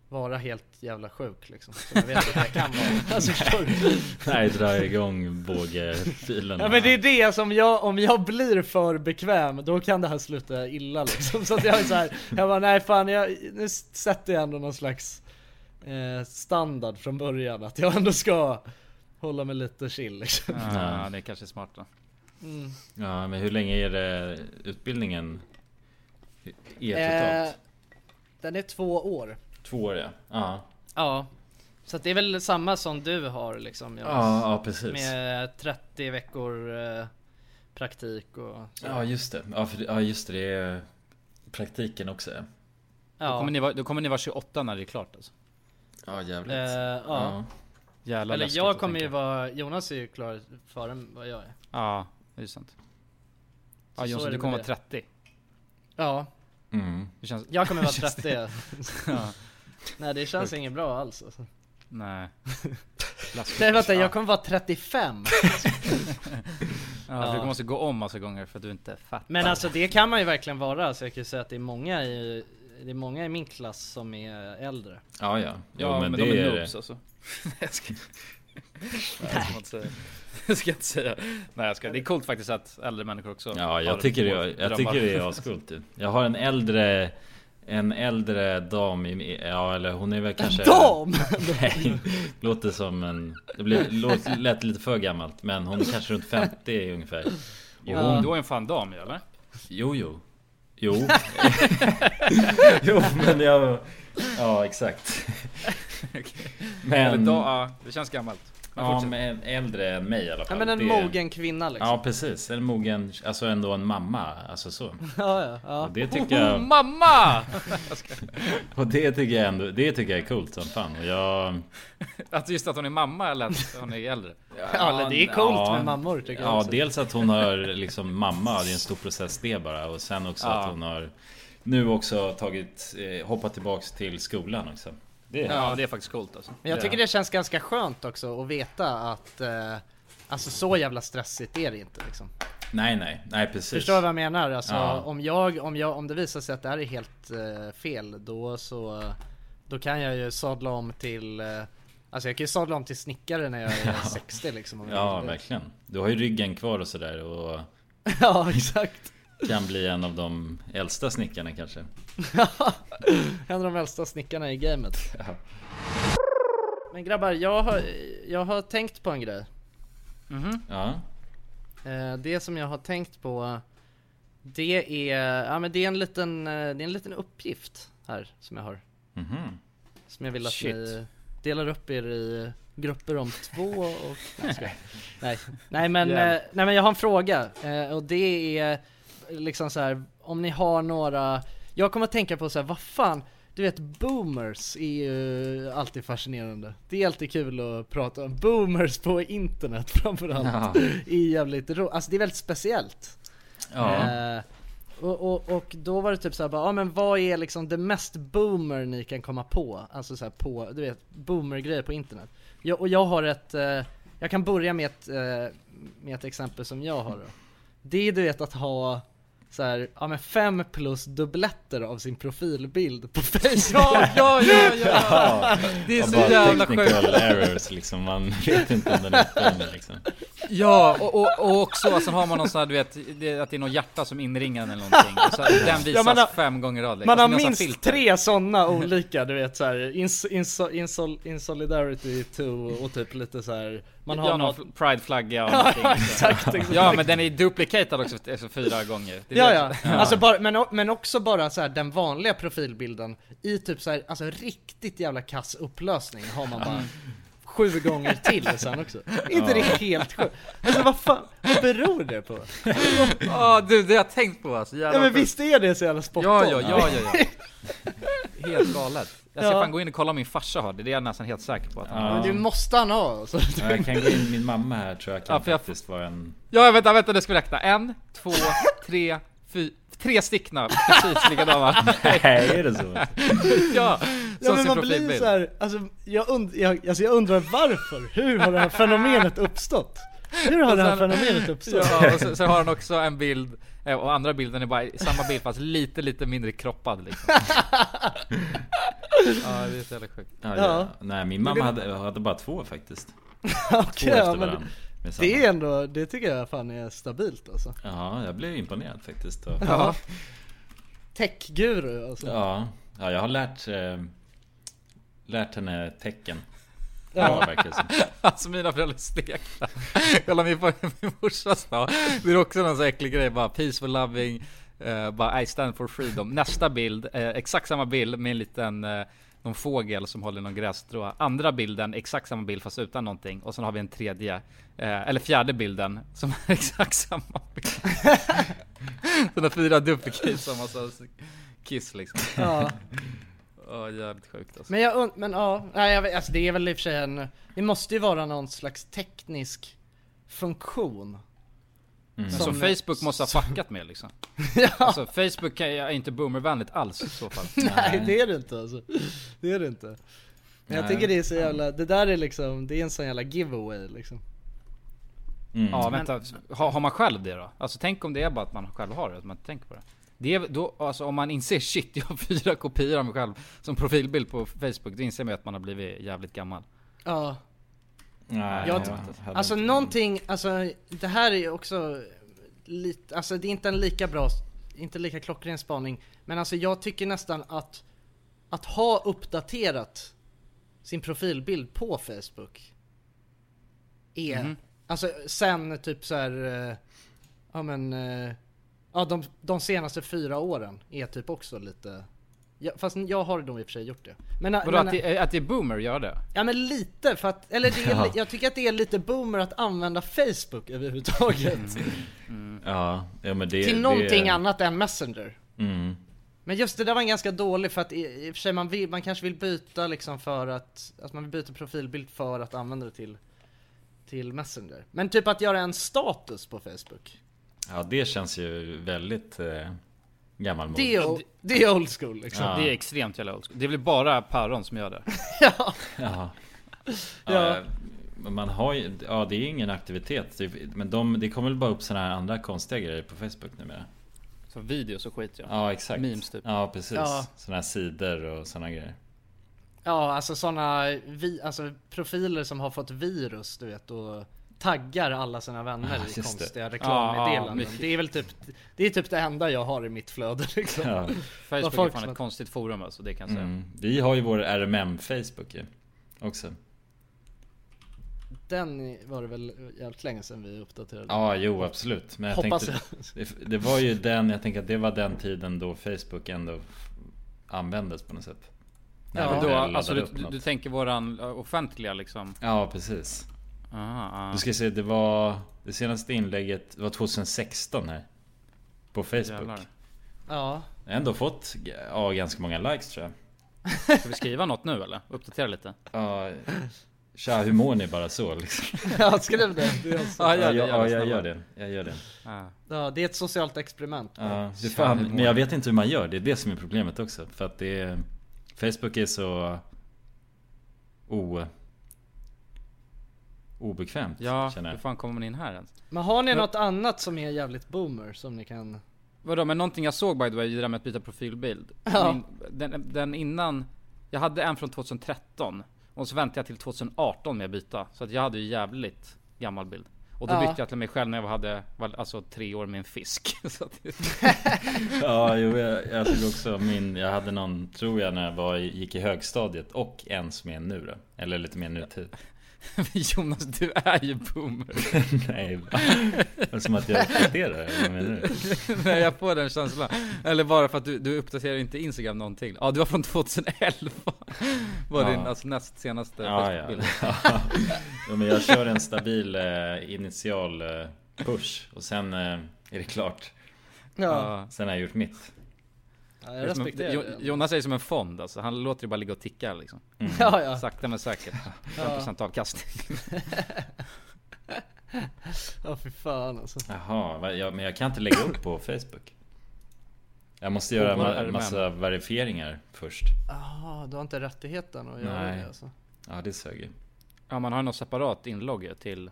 [SPEAKER 1] vara helt jävla sjuk liksom. Som jag vet att jag kan vara. Alltså, förstår du?
[SPEAKER 2] Nej, dra igång bågfilen.
[SPEAKER 1] Ja men det är det som jag, om jag blir för bekväm då kan det här sluta illa liksom. Så att jag är så här, jag bara nej fan jag, nu sätter jag ändå någon slags eh, standard från början att jag ändå ska hålla mig lite chill liksom.
[SPEAKER 3] Ja, det är kanske är smart då.
[SPEAKER 1] Mm.
[SPEAKER 2] Ja, men hur länge är det utbildningen är totalt?
[SPEAKER 1] Eh, den är två år.
[SPEAKER 2] Två år ja. Ja.
[SPEAKER 1] Ja. Så att det är väl samma som du har liksom Jonas?
[SPEAKER 2] Ja, ja, precis.
[SPEAKER 1] Med 30 veckor eh, praktik och så.
[SPEAKER 2] ja, just det. Ja, för, ja, just det. Det är praktiken också.
[SPEAKER 3] Då,
[SPEAKER 1] Ja.
[SPEAKER 3] kommer ni vara, då kommer ni vara 28 när det är klart alltså.
[SPEAKER 2] Ja, jävligt.
[SPEAKER 1] Eh, ja.
[SPEAKER 3] Jävla
[SPEAKER 1] Eller
[SPEAKER 3] läskigt
[SPEAKER 1] jag
[SPEAKER 3] att
[SPEAKER 1] kommer ju
[SPEAKER 3] tänka.
[SPEAKER 1] vara, Jonas är ju klar före vad jag är.
[SPEAKER 3] Ja, det är sant. Ja
[SPEAKER 1] Så är
[SPEAKER 3] Jonsson,
[SPEAKER 1] det
[SPEAKER 3] du kommer
[SPEAKER 1] med
[SPEAKER 3] vara
[SPEAKER 1] det.
[SPEAKER 3] 30.
[SPEAKER 1] Ja.
[SPEAKER 2] Mm.
[SPEAKER 3] Det känns-
[SPEAKER 1] Jag kommer vara
[SPEAKER 3] känns
[SPEAKER 1] 30 ja.
[SPEAKER 3] det- Ja.
[SPEAKER 1] Nej det känns
[SPEAKER 3] Sjukt.
[SPEAKER 1] inget bra alls alltså.
[SPEAKER 3] Nej. Läskigt.
[SPEAKER 1] Nej vänta,
[SPEAKER 3] Ja.
[SPEAKER 1] jag kommer vara 35!
[SPEAKER 3] Ja, för Du måste gå om massa gånger för att du inte fattar.
[SPEAKER 1] Men alltså det kan man ju verkligen vara, alltså jag kan ju säga att det är många i, det är många i min klass som är äldre.
[SPEAKER 2] Ja, ja. Jo,
[SPEAKER 1] Ja,
[SPEAKER 2] men,
[SPEAKER 1] men
[SPEAKER 2] det
[SPEAKER 1] de är
[SPEAKER 2] är
[SPEAKER 1] noobs,
[SPEAKER 2] det.
[SPEAKER 1] alltså.
[SPEAKER 3] Jag ska, Nej, jag ska inte säga. Jag ska inte säga. Nej, jag ska. Det är coolt faktiskt att äldre människor också
[SPEAKER 2] Ja, jag
[SPEAKER 3] har
[SPEAKER 2] tycker, jag,
[SPEAKER 3] drömmar.
[SPEAKER 2] jag tycker det är ascoolt typ. Jag har en äldre En äldre dam i, ja eller hon är väl kanske
[SPEAKER 1] dam?
[SPEAKER 2] Nej, låter som en Det blev, låt, lät lite för gammalt Men hon är kanske runt 50 ungefär
[SPEAKER 3] Och hon då är en fan dam ju, eller?
[SPEAKER 2] Jo jo Jo Jo men jag Ja exakt
[SPEAKER 3] Men... Eller
[SPEAKER 2] Men
[SPEAKER 3] då, ja, det känns gammalt. Men
[SPEAKER 2] Ja
[SPEAKER 3] fortsätt.
[SPEAKER 2] men äldre än mig i alla
[SPEAKER 1] Ja
[SPEAKER 2] fall
[SPEAKER 1] men en
[SPEAKER 2] Det-
[SPEAKER 1] mogen kvinna liksom.
[SPEAKER 2] Ja precis, en mogen, alltså ändå en mamma, alltså så
[SPEAKER 1] Ja, ja, ja.
[SPEAKER 2] Och det tycker jag-
[SPEAKER 3] mamma!
[SPEAKER 2] Och det tycker jag ändå, det tycker jag är coolt som fan och jag...
[SPEAKER 3] Att just att hon är mamma eller att hon är äldre.
[SPEAKER 1] eller det är coolt med mammor, tycker jag
[SPEAKER 2] Ja,
[SPEAKER 1] också.
[SPEAKER 2] dels att hon har liksom mamma, det är en stor process det bara och sen också
[SPEAKER 3] Ja.
[SPEAKER 2] att hon har nu också tagit, eh, hoppat tillbaks till skolan också det är,
[SPEAKER 3] Ja, det är faktiskt coolt alltså.
[SPEAKER 1] Men jag tycker det känns ganska skönt också att veta att eh, Alltså så jävla stressigt är det inte liksom.
[SPEAKER 2] Nej nej, nej precis
[SPEAKER 1] Förstår du vad jag menar? Alltså,
[SPEAKER 2] Ja.
[SPEAKER 1] om, jag, om, jag, om det visar sig att det här är helt eh, fel då så Då kan jag ju sadla om till eh, Alltså jag kan ju sadla om till snickare när jag är 60 liksom om jag
[SPEAKER 2] Ja
[SPEAKER 1] vill det.
[SPEAKER 2] verkligen, du har ju ryggen kvar och sådär och
[SPEAKER 1] Ja exakt Mm.
[SPEAKER 2] kan bli en av de äldsta snickarna kanske
[SPEAKER 1] En av de äldsta snickarna i gamet Men grabbar, jag har, jag har tänkt på en grej
[SPEAKER 2] Ja,
[SPEAKER 1] Eh, Det som jag har tänkt på Det är, ja men det är en liten, eh, det är en liten uppgift här som jag har
[SPEAKER 2] Mhm.
[SPEAKER 1] Som jag vill att
[SPEAKER 2] Shit.
[SPEAKER 1] ni delar upp er i grupper om två och... Nej, jag skojar. nej. nej men, eh,
[SPEAKER 11] Jävlar.
[SPEAKER 1] nej men jag har en fråga eh, och det är liksom så här om ni har några Jag kommer att tänka på så här, vad fan du vet boomers är ju alltid fascinerande. Det är alltid kul att prata om boomers på internet framförallt.
[SPEAKER 2] Ja.
[SPEAKER 1] är jävligt ro- Alltså det är väldigt speciellt.
[SPEAKER 2] Ja.
[SPEAKER 1] Eh, och, och, och då var det typ såhär bara, ja men vad är liksom det mest boomer ni kan komma på? Alltså såhär på, du vet, boomer-grejer på internet. Jag, och jag har ett, eh, jag kan börja med ett, eh, med ett exempel som jag har då. Det är du vet att ha såhär, ja men fem plus dubbletter av sin profilbild på Facebook.
[SPEAKER 3] Ja, ja, ja, ja. Det är
[SPEAKER 2] Ja,
[SPEAKER 3] så
[SPEAKER 2] bara
[SPEAKER 3] jävla
[SPEAKER 2] technical
[SPEAKER 3] sjukt.
[SPEAKER 2] errors liksom, man vet inte om den är öppen liksom
[SPEAKER 3] Ja, och, och, och också sen har man någon sån här, du vet, det, att det är någon hjärta som inringad eller någonting. Och Så här, Alltså, den visas
[SPEAKER 1] Ja, man har-
[SPEAKER 3] fem gånger i rad. liksom.
[SPEAKER 1] Man har
[SPEAKER 3] Det är någon
[SPEAKER 1] minst
[SPEAKER 3] sån här filter.
[SPEAKER 1] tre sådana olika, du vet såhär ins, inso, insol, insolidarity to och typ lite såhär Man har
[SPEAKER 3] ja,
[SPEAKER 1] något
[SPEAKER 3] någon prideflagga och
[SPEAKER 1] Ja,
[SPEAKER 3] någonting.
[SPEAKER 1] exakt, exakt.
[SPEAKER 3] Ja, men den är duplicated också efter-
[SPEAKER 1] alltså,
[SPEAKER 3] efter fyra gånger. Det är
[SPEAKER 1] Ja
[SPEAKER 3] det
[SPEAKER 1] ja,
[SPEAKER 3] också.
[SPEAKER 1] alltså bara, men, o- men också bara så här, den vanliga profilbilden i typ så här, alltså riktigt jävla kass upplösning har man bara sju gånger till sen också. Är inte
[SPEAKER 3] Ja.
[SPEAKER 1] det helt sjukt? Alltså vad fan, vad beror det på?
[SPEAKER 3] Ja du, det har jag tänkt på alltså. Jävla
[SPEAKER 1] Ja men
[SPEAKER 3] sjukt.
[SPEAKER 1] visst är det så jävla spot
[SPEAKER 3] Ja,
[SPEAKER 1] on?
[SPEAKER 3] ja, ja, ja, ja. Helt galet. Jag ska
[SPEAKER 1] Ja.
[SPEAKER 3] fan gå in och kolla om min farsa har det, det är jag nästan helt säker på att han
[SPEAKER 1] Men
[SPEAKER 3] har.
[SPEAKER 1] det måste han ha alltså.
[SPEAKER 2] Ja, jag kan gå in min mamma här tror jag kan
[SPEAKER 3] Ja, för jag-
[SPEAKER 2] faktiskt vara en...
[SPEAKER 3] Ja vänta, vänta nu ska vi räkna. En, två, tre, fyra. Tre stickna, precis likadana.
[SPEAKER 2] Nej, är det så?
[SPEAKER 1] Ja
[SPEAKER 3] Ja, som
[SPEAKER 1] men
[SPEAKER 3] sin
[SPEAKER 1] man blir
[SPEAKER 3] profilbild.
[SPEAKER 1] så här, alltså jag, und- jag, alltså jag undrar varför? Hur har det här fenomenet uppstått? Hur har
[SPEAKER 3] Och
[SPEAKER 1] det här
[SPEAKER 3] sen-
[SPEAKER 1] fenomenet uppstått?
[SPEAKER 3] Ja, och sen, sen har han också en bild, eh, och andra bilden är bara samma bild fast lite, lite mindre kroppad liksom. Ja, det är så jävla sjukt.
[SPEAKER 2] Ja, ja. Nej min mamma hade, hade bara två faktiskt
[SPEAKER 1] Okej,
[SPEAKER 2] Två
[SPEAKER 1] ja,
[SPEAKER 2] efter
[SPEAKER 1] men
[SPEAKER 2] varandra med samma.
[SPEAKER 1] Det är ändå, det tycker jag fan är stabilt alltså.
[SPEAKER 2] Ja, jag blev imponerad faktiskt
[SPEAKER 1] Ja. Techguru alltså.
[SPEAKER 2] Ja, ja jag har lärt, eh, lärt henne tecken.
[SPEAKER 3] Ja.
[SPEAKER 2] Ja. verkar det som.
[SPEAKER 3] Alltså mina föräldrar stekta. Kolla min, far- min morsas dag. Det är också någon sån äcklig grej bara peaceful loving, eh, bara I stand for freedom. Nästa bild, eh, exakt samma bild med en liten eh, någon fågel som håller någon grässtrå. Andra bilden, exakt samma bild fast utan någonting. Och sen har vi en tredje, eh, eller fjärde bilden som är exakt samma bild. Sådana fyra dubbelkiss och massa kiss liksom.
[SPEAKER 1] Ja.
[SPEAKER 3] Åh, jävligt sjukt alltså.
[SPEAKER 1] Men jag und- men ja, nej, jag vet, alltså det är väl i och för sig en, det måste ju vara någon slags teknisk funktion.
[SPEAKER 3] Men
[SPEAKER 1] Som-
[SPEAKER 3] som Alltså, Facebook måste ha
[SPEAKER 1] som-
[SPEAKER 3] fuckat med liksom. Alltså Facebook kan- är inte boomervänligt alls i så fall.
[SPEAKER 1] Nej det är det inte alltså. Det är det inte. Men jag
[SPEAKER 3] Nej.
[SPEAKER 1] tycker det är så jävla, det där är liksom, det är en sån jävla giveaway liksom.
[SPEAKER 3] Ja vänta, har, har man själv det då? Alltså tänk om det är bara att man själv har det, att man inte tänker på det. Det är då, alltså om man inser shit, jag har fyra kopior av mig själv som profilbild på Facebook, då inser man ju att man har blivit jävligt gammal.
[SPEAKER 1] Ja.
[SPEAKER 2] Nej,
[SPEAKER 1] Jag,
[SPEAKER 3] hade
[SPEAKER 1] alltså
[SPEAKER 3] inte-
[SPEAKER 1] någonting, alltså det här är ju också lite, alltså det är inte en lika bra, inte lika klockren spaning. Men alltså jag tycker nästan att, att ha uppdaterat sin profilbild på Facebook är,
[SPEAKER 3] Mhm.
[SPEAKER 1] alltså sen typ så här, eh, ja men, eh, ja de, de senaste fyra åren är typ också lite, ja, fast jag har nog i och för sig gjort det. Men,
[SPEAKER 3] Vadå att, det, att det är boomer gör det?
[SPEAKER 1] Ja men lite för att, eller det är,
[SPEAKER 3] Ja.
[SPEAKER 1] jag tycker att det är lite boomer att använda Facebook överhuvudtaget. Mm.
[SPEAKER 2] Ja, ja men Mm. det mm.
[SPEAKER 1] Till någonting
[SPEAKER 2] det,
[SPEAKER 1] annat än Messenger.
[SPEAKER 2] Mm.
[SPEAKER 1] Men just det där var en ganska dålig för att i, i och för sig man, vill, man kanske vill byta liksom för att, att man vill byta profilbild för att använda det till, till Messenger. Men typ att göra en status på Facebook.
[SPEAKER 2] Ja det känns ju väldigt eh, gammalmodigt.
[SPEAKER 1] Det är, o- det är old school liksom.
[SPEAKER 3] Det är extremt jävla old school. Det är väl bara päron som gör det?
[SPEAKER 2] Ja.
[SPEAKER 3] Ja.
[SPEAKER 2] ja. men Man har ju, ja det är ingen aktivitet. Det- Men de, det kommer väl bara upp sådana här andra konstiga grejer på Facebook numera.
[SPEAKER 3] Så videos och skit ja.
[SPEAKER 2] Ja exakt.
[SPEAKER 3] Memes typ.
[SPEAKER 2] Ja precis.
[SPEAKER 1] Ja.
[SPEAKER 2] Sådana här sidor och sådana grejer.
[SPEAKER 1] Ja, alltså sådana vi, alltså profiler som har fått virus, du vet, och taggar alla sina vänner
[SPEAKER 2] Ah,
[SPEAKER 1] i
[SPEAKER 2] just det.
[SPEAKER 1] konstiga
[SPEAKER 3] Ja,
[SPEAKER 1] reklammeddelanden.
[SPEAKER 3] mycket.
[SPEAKER 1] det är väl typ, det är typ det enda jag har i mitt flöde liksom. Bara
[SPEAKER 3] Facebook är
[SPEAKER 1] folk
[SPEAKER 3] fan
[SPEAKER 1] som
[SPEAKER 3] ett konstigt forum alltså, det kan jag säga.
[SPEAKER 2] Mm. Vi har ju vår RMM Facebook ju. Också.
[SPEAKER 1] att Den var det väl jävligt länge sedan vi uppdaterade.
[SPEAKER 2] Ja, jo absolut. Men typ. jag
[SPEAKER 1] Hoppas
[SPEAKER 2] tänkte, det, det var ju den, jag tänker att det var den tiden då Facebook ändå f- användes på något sätt. När
[SPEAKER 3] Ja,
[SPEAKER 2] vi
[SPEAKER 3] då,
[SPEAKER 2] laddade
[SPEAKER 3] alltså du,
[SPEAKER 2] upp
[SPEAKER 3] du,
[SPEAKER 2] något.
[SPEAKER 3] du tänker våran eh, offentliga liksom?
[SPEAKER 2] Ja, precis.
[SPEAKER 3] Aha,
[SPEAKER 2] Du ska se, det var det senaste inlägget, det var 2016 här. På Facebook.
[SPEAKER 3] Jävlar.
[SPEAKER 1] Ja.
[SPEAKER 2] Jag har ändå fått ja, ganska många likes tror jag.
[SPEAKER 3] Ska vi skriva något nu eller? Uppdatera lite?
[SPEAKER 2] Ja, tja hur mår ni bara så liksom?
[SPEAKER 1] ja, skriv det. det är också-
[SPEAKER 2] Ja, jag, ja, jag gör det. Jag gör det.
[SPEAKER 1] Ja, det är ett socialt experiment.
[SPEAKER 2] Ja, det är fan, men jag vet inte hur man gör. Det är det som är problemet också. För att det är, Facebook är så... O, obekvämt
[SPEAKER 3] Ja,
[SPEAKER 2] känner
[SPEAKER 3] hur
[SPEAKER 2] jag.
[SPEAKER 3] fan kommer man in här ens?
[SPEAKER 1] Men har ni
[SPEAKER 3] Men-
[SPEAKER 1] något annat som är jävligt boomer som ni kan...
[SPEAKER 3] Vadå, men någonting jag såg by the way, det där med att byta profilbild.
[SPEAKER 1] Ja.
[SPEAKER 3] Min, den, den innan, jag hade en från 2013. Och så väntade jag till 2018 med att byta. Så att jag hade ju jävligt gammal bild. Och då
[SPEAKER 1] Ja.
[SPEAKER 3] bytte jag till mig själv när jag hade, var, alltså tre år med en fisk. Så att,
[SPEAKER 2] Ja, jo, jag, jag tog också min... Jag hade någon, tror jag, när jag var, i- gick i högstadiet och en som är nu då. Eller lite mer nutid.
[SPEAKER 3] Jonas, du är ju boomer.
[SPEAKER 2] Nej, va? Det är som att jag reflekterar, eller vad menar du?
[SPEAKER 3] Nej, jag får den känslan. Eller bara för att du, du uppdaterar inte Instagram någonting. Ja, du var från 2011. Var
[SPEAKER 2] Ja.
[SPEAKER 3] din alltså, näst senaste
[SPEAKER 2] Ja, ja.
[SPEAKER 3] Facebookbild.
[SPEAKER 2] ja, men jag kör en stabil eh, initial eh, push och sen eh, är det klart.
[SPEAKER 1] Ja.
[SPEAKER 2] Sen har jag gjort mitt.
[SPEAKER 1] Ja,
[SPEAKER 3] Det
[SPEAKER 1] jag
[SPEAKER 3] är som
[SPEAKER 1] respekterar
[SPEAKER 3] en, Jo-
[SPEAKER 1] det.
[SPEAKER 3] Jonas är som en fond alltså, han låter det bara ligga och ticka liksom.
[SPEAKER 2] Mm.
[SPEAKER 1] Ja, ja.
[SPEAKER 3] Sakta men säkert.
[SPEAKER 1] Ja.
[SPEAKER 3] 5% avkastning.
[SPEAKER 1] Ja, fy fan alltså.
[SPEAKER 2] Jaha, va- ja, men jag kan inte lägga upp på Facebook. Jag måste göra
[SPEAKER 1] På vår
[SPEAKER 2] ma-
[SPEAKER 1] RMM.
[SPEAKER 2] massa verifieringar först.
[SPEAKER 1] Jaha, du har inte rättigheten att göra
[SPEAKER 2] Nej.
[SPEAKER 1] det alltså.
[SPEAKER 2] Ja, det sög ju.
[SPEAKER 3] ja, man har något separat inlogg ju till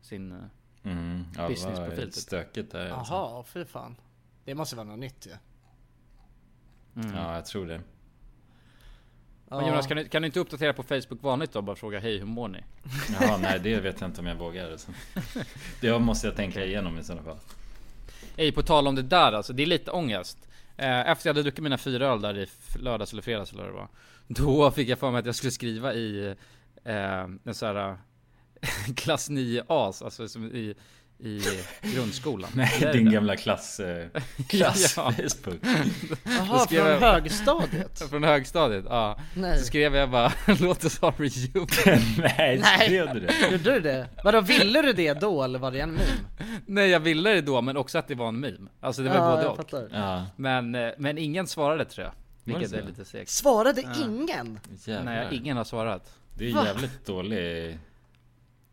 [SPEAKER 3] sin eh,
[SPEAKER 2] Mm, ja,
[SPEAKER 3] Businessprofil,
[SPEAKER 2] Businessprofil.
[SPEAKER 3] typ.
[SPEAKER 2] Stökigt där. alltså.
[SPEAKER 1] Jaha, fy fan. Det måste vara något nytt ju.
[SPEAKER 3] Mm.
[SPEAKER 2] Ja, jag tror det.
[SPEAKER 3] Men Jonas, kan du, kan du inte uppdatera på Facebook vanligt då? Bara fråga hej, hur mår ni?
[SPEAKER 2] Jaha, nej det vet jag inte om jag vågar. alltså. Det måste jag tänka igenom i sådana fall.
[SPEAKER 3] Ej, på tal om det där alltså, det är lite ångest. Eh, efter jag hade druckit mina fyra öl där i f- lördags eller fredags eller vad det var. Då fick jag för mig att jag skulle skriva i eh, en sån här eh, klass 9A, alltså som i, i grundskolan.
[SPEAKER 2] Nej,
[SPEAKER 3] Där är
[SPEAKER 2] din
[SPEAKER 3] den.
[SPEAKER 2] gamla klass, eh, klass Facebook.
[SPEAKER 3] Då
[SPEAKER 1] Jaha,
[SPEAKER 3] skrev
[SPEAKER 1] från högstadiet?
[SPEAKER 3] från högstadiet, ja.
[SPEAKER 1] Nej.
[SPEAKER 3] Så skrev jag bara, låt oss ha reunion.
[SPEAKER 2] Nej,
[SPEAKER 1] Gjorde du det? Vadå, ville du det då eller var det en meme?
[SPEAKER 3] Nej jag ville det då men också att det var en meme. Alltså det var
[SPEAKER 1] Ja,
[SPEAKER 3] både
[SPEAKER 1] jag
[SPEAKER 3] och.
[SPEAKER 1] fattar.
[SPEAKER 2] Ja.
[SPEAKER 3] Men, eh, men ingen svarade tror jag.
[SPEAKER 2] Var
[SPEAKER 3] Vilket
[SPEAKER 2] det
[SPEAKER 3] är
[SPEAKER 2] så?
[SPEAKER 3] lite segt.
[SPEAKER 1] Svarade
[SPEAKER 3] Ja.
[SPEAKER 1] ingen?
[SPEAKER 3] Nej ingen har svarat.
[SPEAKER 2] Det är
[SPEAKER 1] Va?
[SPEAKER 2] jävligt dålig
[SPEAKER 1] Det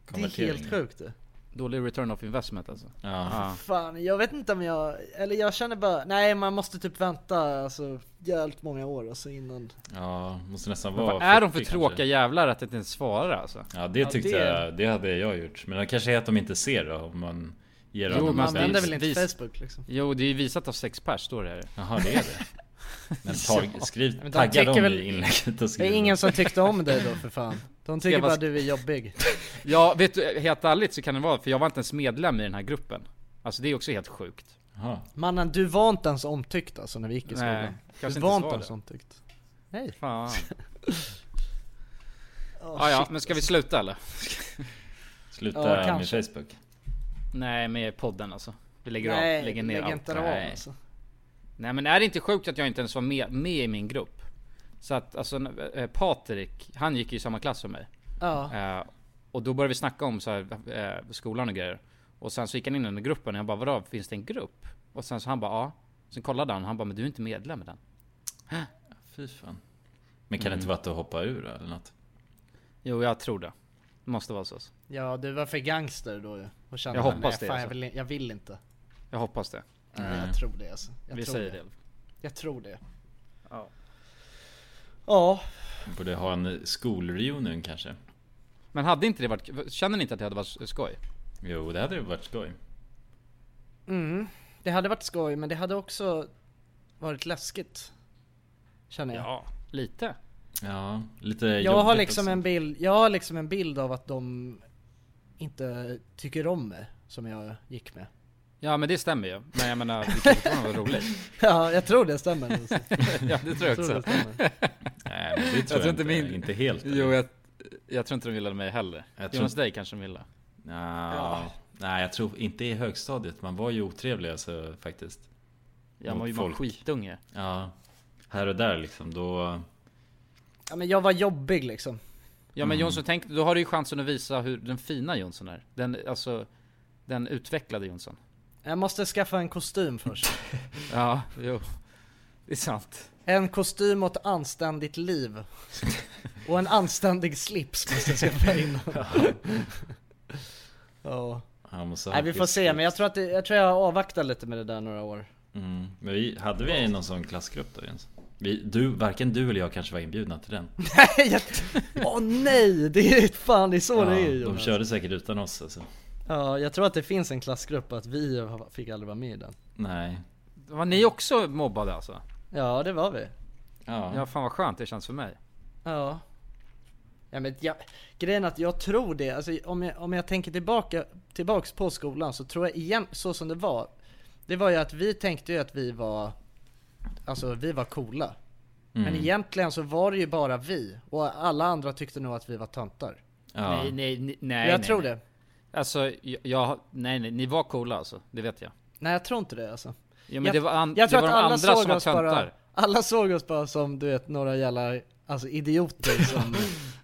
[SPEAKER 1] är
[SPEAKER 2] konvertering.
[SPEAKER 1] helt sjukt det.
[SPEAKER 3] Dålig return of investment alltså.
[SPEAKER 2] Ja.
[SPEAKER 1] Fan, jag vet inte om jag, eller jag känner bara, nej man måste typ vänta alltså jävligt många år alltså innan.
[SPEAKER 2] Ja, måste nästan
[SPEAKER 3] Men
[SPEAKER 2] vara
[SPEAKER 3] vad är de för
[SPEAKER 2] 40 kanske.
[SPEAKER 3] tråkiga jävlar att inte ens svarar alltså?
[SPEAKER 2] Ja, det tyckte
[SPEAKER 3] det-
[SPEAKER 2] jag. Det hade jag gjort. Men det kanske är att de inte ser då, om man ger
[SPEAKER 3] Jo,
[SPEAKER 2] dem
[SPEAKER 3] man
[SPEAKER 2] en spel.
[SPEAKER 3] använder väl inte Vis-
[SPEAKER 1] Facebook liksom.
[SPEAKER 3] Jo det är ju visat av sex pers står det här.
[SPEAKER 2] Jaha, det är det. Men tag, skriv,
[SPEAKER 1] Men de
[SPEAKER 2] tagga
[SPEAKER 1] tycker
[SPEAKER 2] dem
[SPEAKER 1] väl-
[SPEAKER 2] i inlägget och
[SPEAKER 1] Det
[SPEAKER 2] skriv.
[SPEAKER 1] är ingen som tyckte om dig då för fan. De tycker
[SPEAKER 3] Ska jag
[SPEAKER 1] bara
[SPEAKER 3] bara-
[SPEAKER 1] du är jobbig.
[SPEAKER 3] Ja vet du, helt ärligt så kan det vara för jag var inte ens medlem i den här gruppen. Alltså det är också helt sjukt.
[SPEAKER 1] Mannen, du var inte ens omtyckt alltså när vi gick i skolan.
[SPEAKER 3] Nej, kanske
[SPEAKER 1] du
[SPEAKER 3] inte
[SPEAKER 1] var inte
[SPEAKER 3] ens var
[SPEAKER 1] ens
[SPEAKER 3] det.
[SPEAKER 1] omtyckt. Nej.
[SPEAKER 3] Fan. Ah,
[SPEAKER 1] Oh,
[SPEAKER 3] ja, ja men ska vi sluta eller?
[SPEAKER 2] Sluta med Facebook.
[SPEAKER 3] Nej, med podden alltså. Vi lägger
[SPEAKER 1] Nej,
[SPEAKER 3] av, lägger ner
[SPEAKER 1] lägg
[SPEAKER 3] allt.
[SPEAKER 1] inte av,
[SPEAKER 3] Nej.
[SPEAKER 1] alltså.
[SPEAKER 3] Nej men är det inte sjukt att jag inte ens var med, med i min grupp? Så att alltså eh, Patrik, han gick ju i samma klass som mig.
[SPEAKER 1] Ja.
[SPEAKER 3] Eh, och då började vi snacka om så här, eh, skolan och grejer. Och sen så gick han in i den gruppen och jag bara vadå, finns det en grupp? Och sen så han bara ja. Sen kollade han och han bara men du är inte medlem i den.
[SPEAKER 2] Fy fan. Men kan det inte
[SPEAKER 3] Mm.
[SPEAKER 2] vara att du hoppar ur då, eller något?
[SPEAKER 3] Jo jag tror det. Det måste vara så.
[SPEAKER 1] Ja, du var för gangster då ju. Och kände
[SPEAKER 3] Jag
[SPEAKER 1] bara,
[SPEAKER 3] hoppas
[SPEAKER 1] nej,
[SPEAKER 3] det,
[SPEAKER 1] Fan, jag,
[SPEAKER 3] alltså.
[SPEAKER 1] vill, jag vill inte.
[SPEAKER 3] Jag hoppas det.
[SPEAKER 1] Nej, Jag tror det alltså. Jag
[SPEAKER 3] Vi
[SPEAKER 1] tror
[SPEAKER 3] säger
[SPEAKER 1] det.
[SPEAKER 3] det.
[SPEAKER 1] Jag tror det.
[SPEAKER 3] Ja.
[SPEAKER 1] Ja.
[SPEAKER 2] Du borde ha en skolreunion kanske?
[SPEAKER 3] Men hade inte det varit, känner ni inte att det hade varit skoj?
[SPEAKER 2] Jo, det hade ju varit skoj.
[SPEAKER 1] Mm. Det hade varit skoj, men det hade också varit läskigt. Känner jag.
[SPEAKER 3] Ja, lite.
[SPEAKER 2] Ja, lite
[SPEAKER 1] Jag
[SPEAKER 2] jobbigt
[SPEAKER 1] har, liksom
[SPEAKER 2] också.
[SPEAKER 1] en bild, jag har liksom en bild av att de inte tycker om mig, som jag gick med.
[SPEAKER 3] Ja men det stämmer ju. Men jag menar det kan fortfarande vara roligt.
[SPEAKER 1] Ja, jag tror det stämmer. Nilsson.
[SPEAKER 3] ja, det tror jag också.
[SPEAKER 1] stämmer.
[SPEAKER 2] Nej, men det tror jag inte. Inte helt.
[SPEAKER 3] Jo, jag, jag tror inte de gillade mig heller.
[SPEAKER 2] Jag tror-
[SPEAKER 3] Jonas, dig kanske de gillade.
[SPEAKER 2] Nja,
[SPEAKER 3] Ja.
[SPEAKER 2] Nej, jag tror inte i högstadiet. Man var ju otrevlig alltså, faktiskt.
[SPEAKER 3] Ja,
[SPEAKER 2] Mot
[SPEAKER 3] man var ju
[SPEAKER 2] folk.
[SPEAKER 3] skitunge.
[SPEAKER 2] Ja, här och där liksom. Då...
[SPEAKER 1] Ja, men jag var jobbig liksom.
[SPEAKER 3] Ja
[SPEAKER 2] Mm.
[SPEAKER 3] men Jonsson, tänk, då har du ju chansen att visa hur den fina Jonsson är. Den, alltså, den utvecklade Jonsson.
[SPEAKER 1] Jag måste skaffa en kostym först.
[SPEAKER 3] Ja, jo. Det är sant.
[SPEAKER 1] En kostym och ett anständigt liv. Och en anständig slips måste jag skaffa in. Ja.
[SPEAKER 2] Han
[SPEAKER 3] Alltså,
[SPEAKER 2] måste ha
[SPEAKER 1] Nej vi får se, men jag tror att det, jag tror jag avvaktar lite med det där några år.
[SPEAKER 2] Mm. Men vi, hade vi någon sån klassgrupp då Jens? Vi, du, varken du eller jag kanske var inbjudna till den.
[SPEAKER 1] Nej, jag... Åh nej! Det är fan, det är så det är
[SPEAKER 2] de
[SPEAKER 1] Jonas.
[SPEAKER 2] körde säkert utan oss alltså.
[SPEAKER 1] Ja, jag tror att det finns en klassgrupp att vi har- fick aldrig vara med i den.
[SPEAKER 2] Nej.
[SPEAKER 3] Var ni också mobbade alltså?
[SPEAKER 1] Ja, det var vi.
[SPEAKER 2] Ja.
[SPEAKER 3] Ja, fan vad skönt det känns för mig.
[SPEAKER 1] Ja. Ja men jag, grejen är att jag tror det, alltså, om, jag, om jag tänker tillbaka tillbaks på skolan så tror jag igen, så som det var. Det var ju att vi tänkte ju att vi var, alltså vi var coola. Men
[SPEAKER 2] Mm.
[SPEAKER 1] egentligen så var det ju bara vi och alla andra tyckte nog att vi var töntar.
[SPEAKER 3] Nej, nej, nej, nej.
[SPEAKER 1] Jag
[SPEAKER 3] nej,
[SPEAKER 1] tror
[SPEAKER 3] nej.
[SPEAKER 1] det.
[SPEAKER 3] Alltså, jag, jag, nej, nej, ni var coola alltså. Det vet jag.
[SPEAKER 1] Nej jag tror inte det alltså.
[SPEAKER 3] Ja, men det var an- det var de andra som var
[SPEAKER 1] oss bara,
[SPEAKER 3] töntar.
[SPEAKER 1] alla såg oss bara som du vet några jävla alltså, idioter som,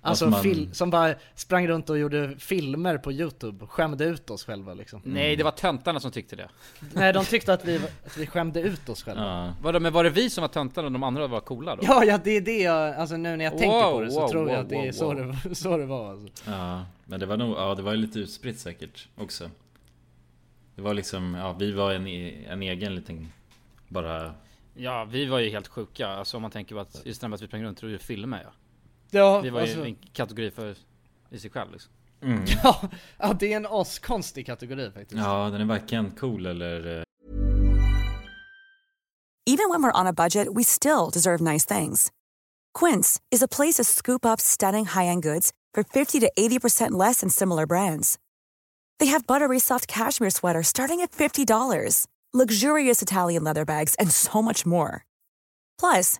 [SPEAKER 1] alltså,
[SPEAKER 3] Att man-
[SPEAKER 1] fil- som bara sprang runt och gjorde filmer på youtube och skämde ut oss själva liksom.
[SPEAKER 3] Mm. Nej, det var töntarna som tyckte det.
[SPEAKER 1] Nej de tyckte att vi, att vi skämde ut oss själva. Ja.
[SPEAKER 3] Vadå, men var det vi som var töntarna och de andra var coola då?
[SPEAKER 1] Ja, det är det jag, alltså nu när jag tänker på det så
[SPEAKER 3] Wow, wow,
[SPEAKER 1] tror jag att det är
[SPEAKER 3] wow,
[SPEAKER 1] så,
[SPEAKER 3] wow.
[SPEAKER 1] Det, så det var alltså.
[SPEAKER 2] Ja, men det var nog, ja det var ju lite utspritt säkert också. Det var liksom, ja vi var en, e- en egen liten, bara...
[SPEAKER 3] Ja, vi var ju helt sjuka. Alltså om man tänker på att just det här med att vi sprang runt och gjorde filmer ja.
[SPEAKER 1] Ja,
[SPEAKER 3] Vi var
[SPEAKER 1] alltså-
[SPEAKER 3] ju en kategori för i sig själv liksom.
[SPEAKER 2] Mm.
[SPEAKER 1] Ja, ja, det är en askonstig kategori faktiskt.
[SPEAKER 2] Ja, den är varken cool eller... eh,
[SPEAKER 14] Even when we're on a budget, we still deserve nice things. Quince is a place to scoop up stunning high end goods for 50 to 80% less than similar brands. They have buttery soft cashmere sweaters starting at $50, luxurious Italian leather bags, and so much more. Plus,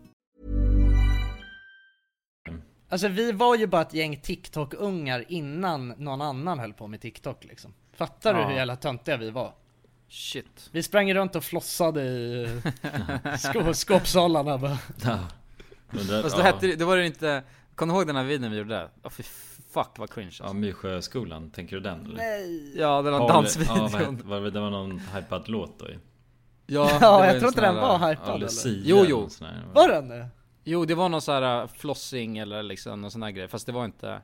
[SPEAKER 1] Alltså vi var ju bara ett gäng TikTok-ungar innan någon annan höll på med TikTok liksom. Fattar
[SPEAKER 3] Ja.
[SPEAKER 1] du hur jävla töntiga vi var?
[SPEAKER 3] Shit.
[SPEAKER 1] Vi sprang runt och flossade i sko- skåpsalarna bara.
[SPEAKER 3] Fast då hette det, då var det inte, kom du ihåg den här videon vi gjorde? Oh, fy fuck vad cringe alltså.
[SPEAKER 2] Ja, Mysjöskolan, tänker du den? Eller?
[SPEAKER 1] Nej.
[SPEAKER 3] Ja, det var
[SPEAKER 2] Paul-
[SPEAKER 3] dansvideon.
[SPEAKER 2] Ja, vad hette- var, det- det var någon hypad låt då ju.
[SPEAKER 3] Ja,
[SPEAKER 1] Ja,
[SPEAKER 3] det var
[SPEAKER 1] jag
[SPEAKER 3] en
[SPEAKER 1] tror inte
[SPEAKER 3] sån
[SPEAKER 1] den
[SPEAKER 3] här-
[SPEAKER 1] var hypad, eller?
[SPEAKER 3] Lucia
[SPEAKER 1] Jo,
[SPEAKER 3] eller
[SPEAKER 1] jo.
[SPEAKER 3] något sånt här.
[SPEAKER 1] Var den det?
[SPEAKER 3] Jo, det var någon sån här uh, flossing eller liksom någon sån här grej, fast det var inte...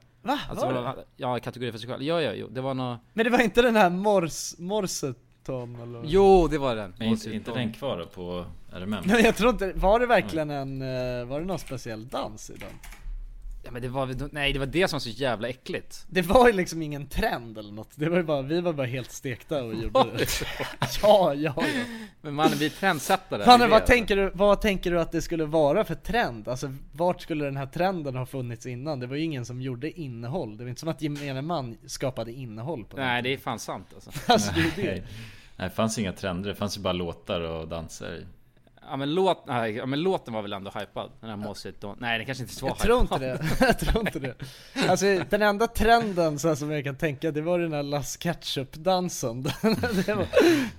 [SPEAKER 3] Alltså,
[SPEAKER 1] Va? Var
[SPEAKER 3] det
[SPEAKER 1] det?
[SPEAKER 3] Ja, kategori för sig själv. Ja, ja, jo, det var någon...
[SPEAKER 1] Men det var inte den här mors, morsetom eller? vad?
[SPEAKER 3] Jo, det var den.
[SPEAKER 2] Men inte, inte den kvar då på RMM?
[SPEAKER 1] Nej jag tror inte, var det verkligen en, eh, var det någon speciell dans i den?
[SPEAKER 3] Ja, men det var, nej det var det som var så jävla äckligt.
[SPEAKER 1] Det var ju liksom ingen trend eller något, det var ju bara, vi var bara helt stekta och gjorde det. Ja, ja, ja.
[SPEAKER 3] Men mannen, vi är trendsättare. Det
[SPEAKER 1] Fanny,
[SPEAKER 3] är
[SPEAKER 1] vad
[SPEAKER 3] det.
[SPEAKER 1] tänker, du, vad tänker du att det skulle vara för trend? Alltså vart skulle den här trenden ha funnits innan? Det var ju ingen som gjorde innehåll, det var inte som att gemene man skapade innehåll på det.
[SPEAKER 3] Nej, det är fan sant alltså.
[SPEAKER 1] Alltså, det är ju det.
[SPEAKER 2] Nej, Nej, det fanns ju inga trender. Det fanns ju bara låtar och danser.
[SPEAKER 3] Ja men, låt, nej, ja men låten var väl ändå hypad? Den här Mossit Don. Nej den kanske inte var
[SPEAKER 1] Jag tror inte
[SPEAKER 3] hypad.
[SPEAKER 1] det, jag tror inte det. Alltså den enda trenden så här, som jag kan tänka, det var den här Las Ketchup-dansen. Det var,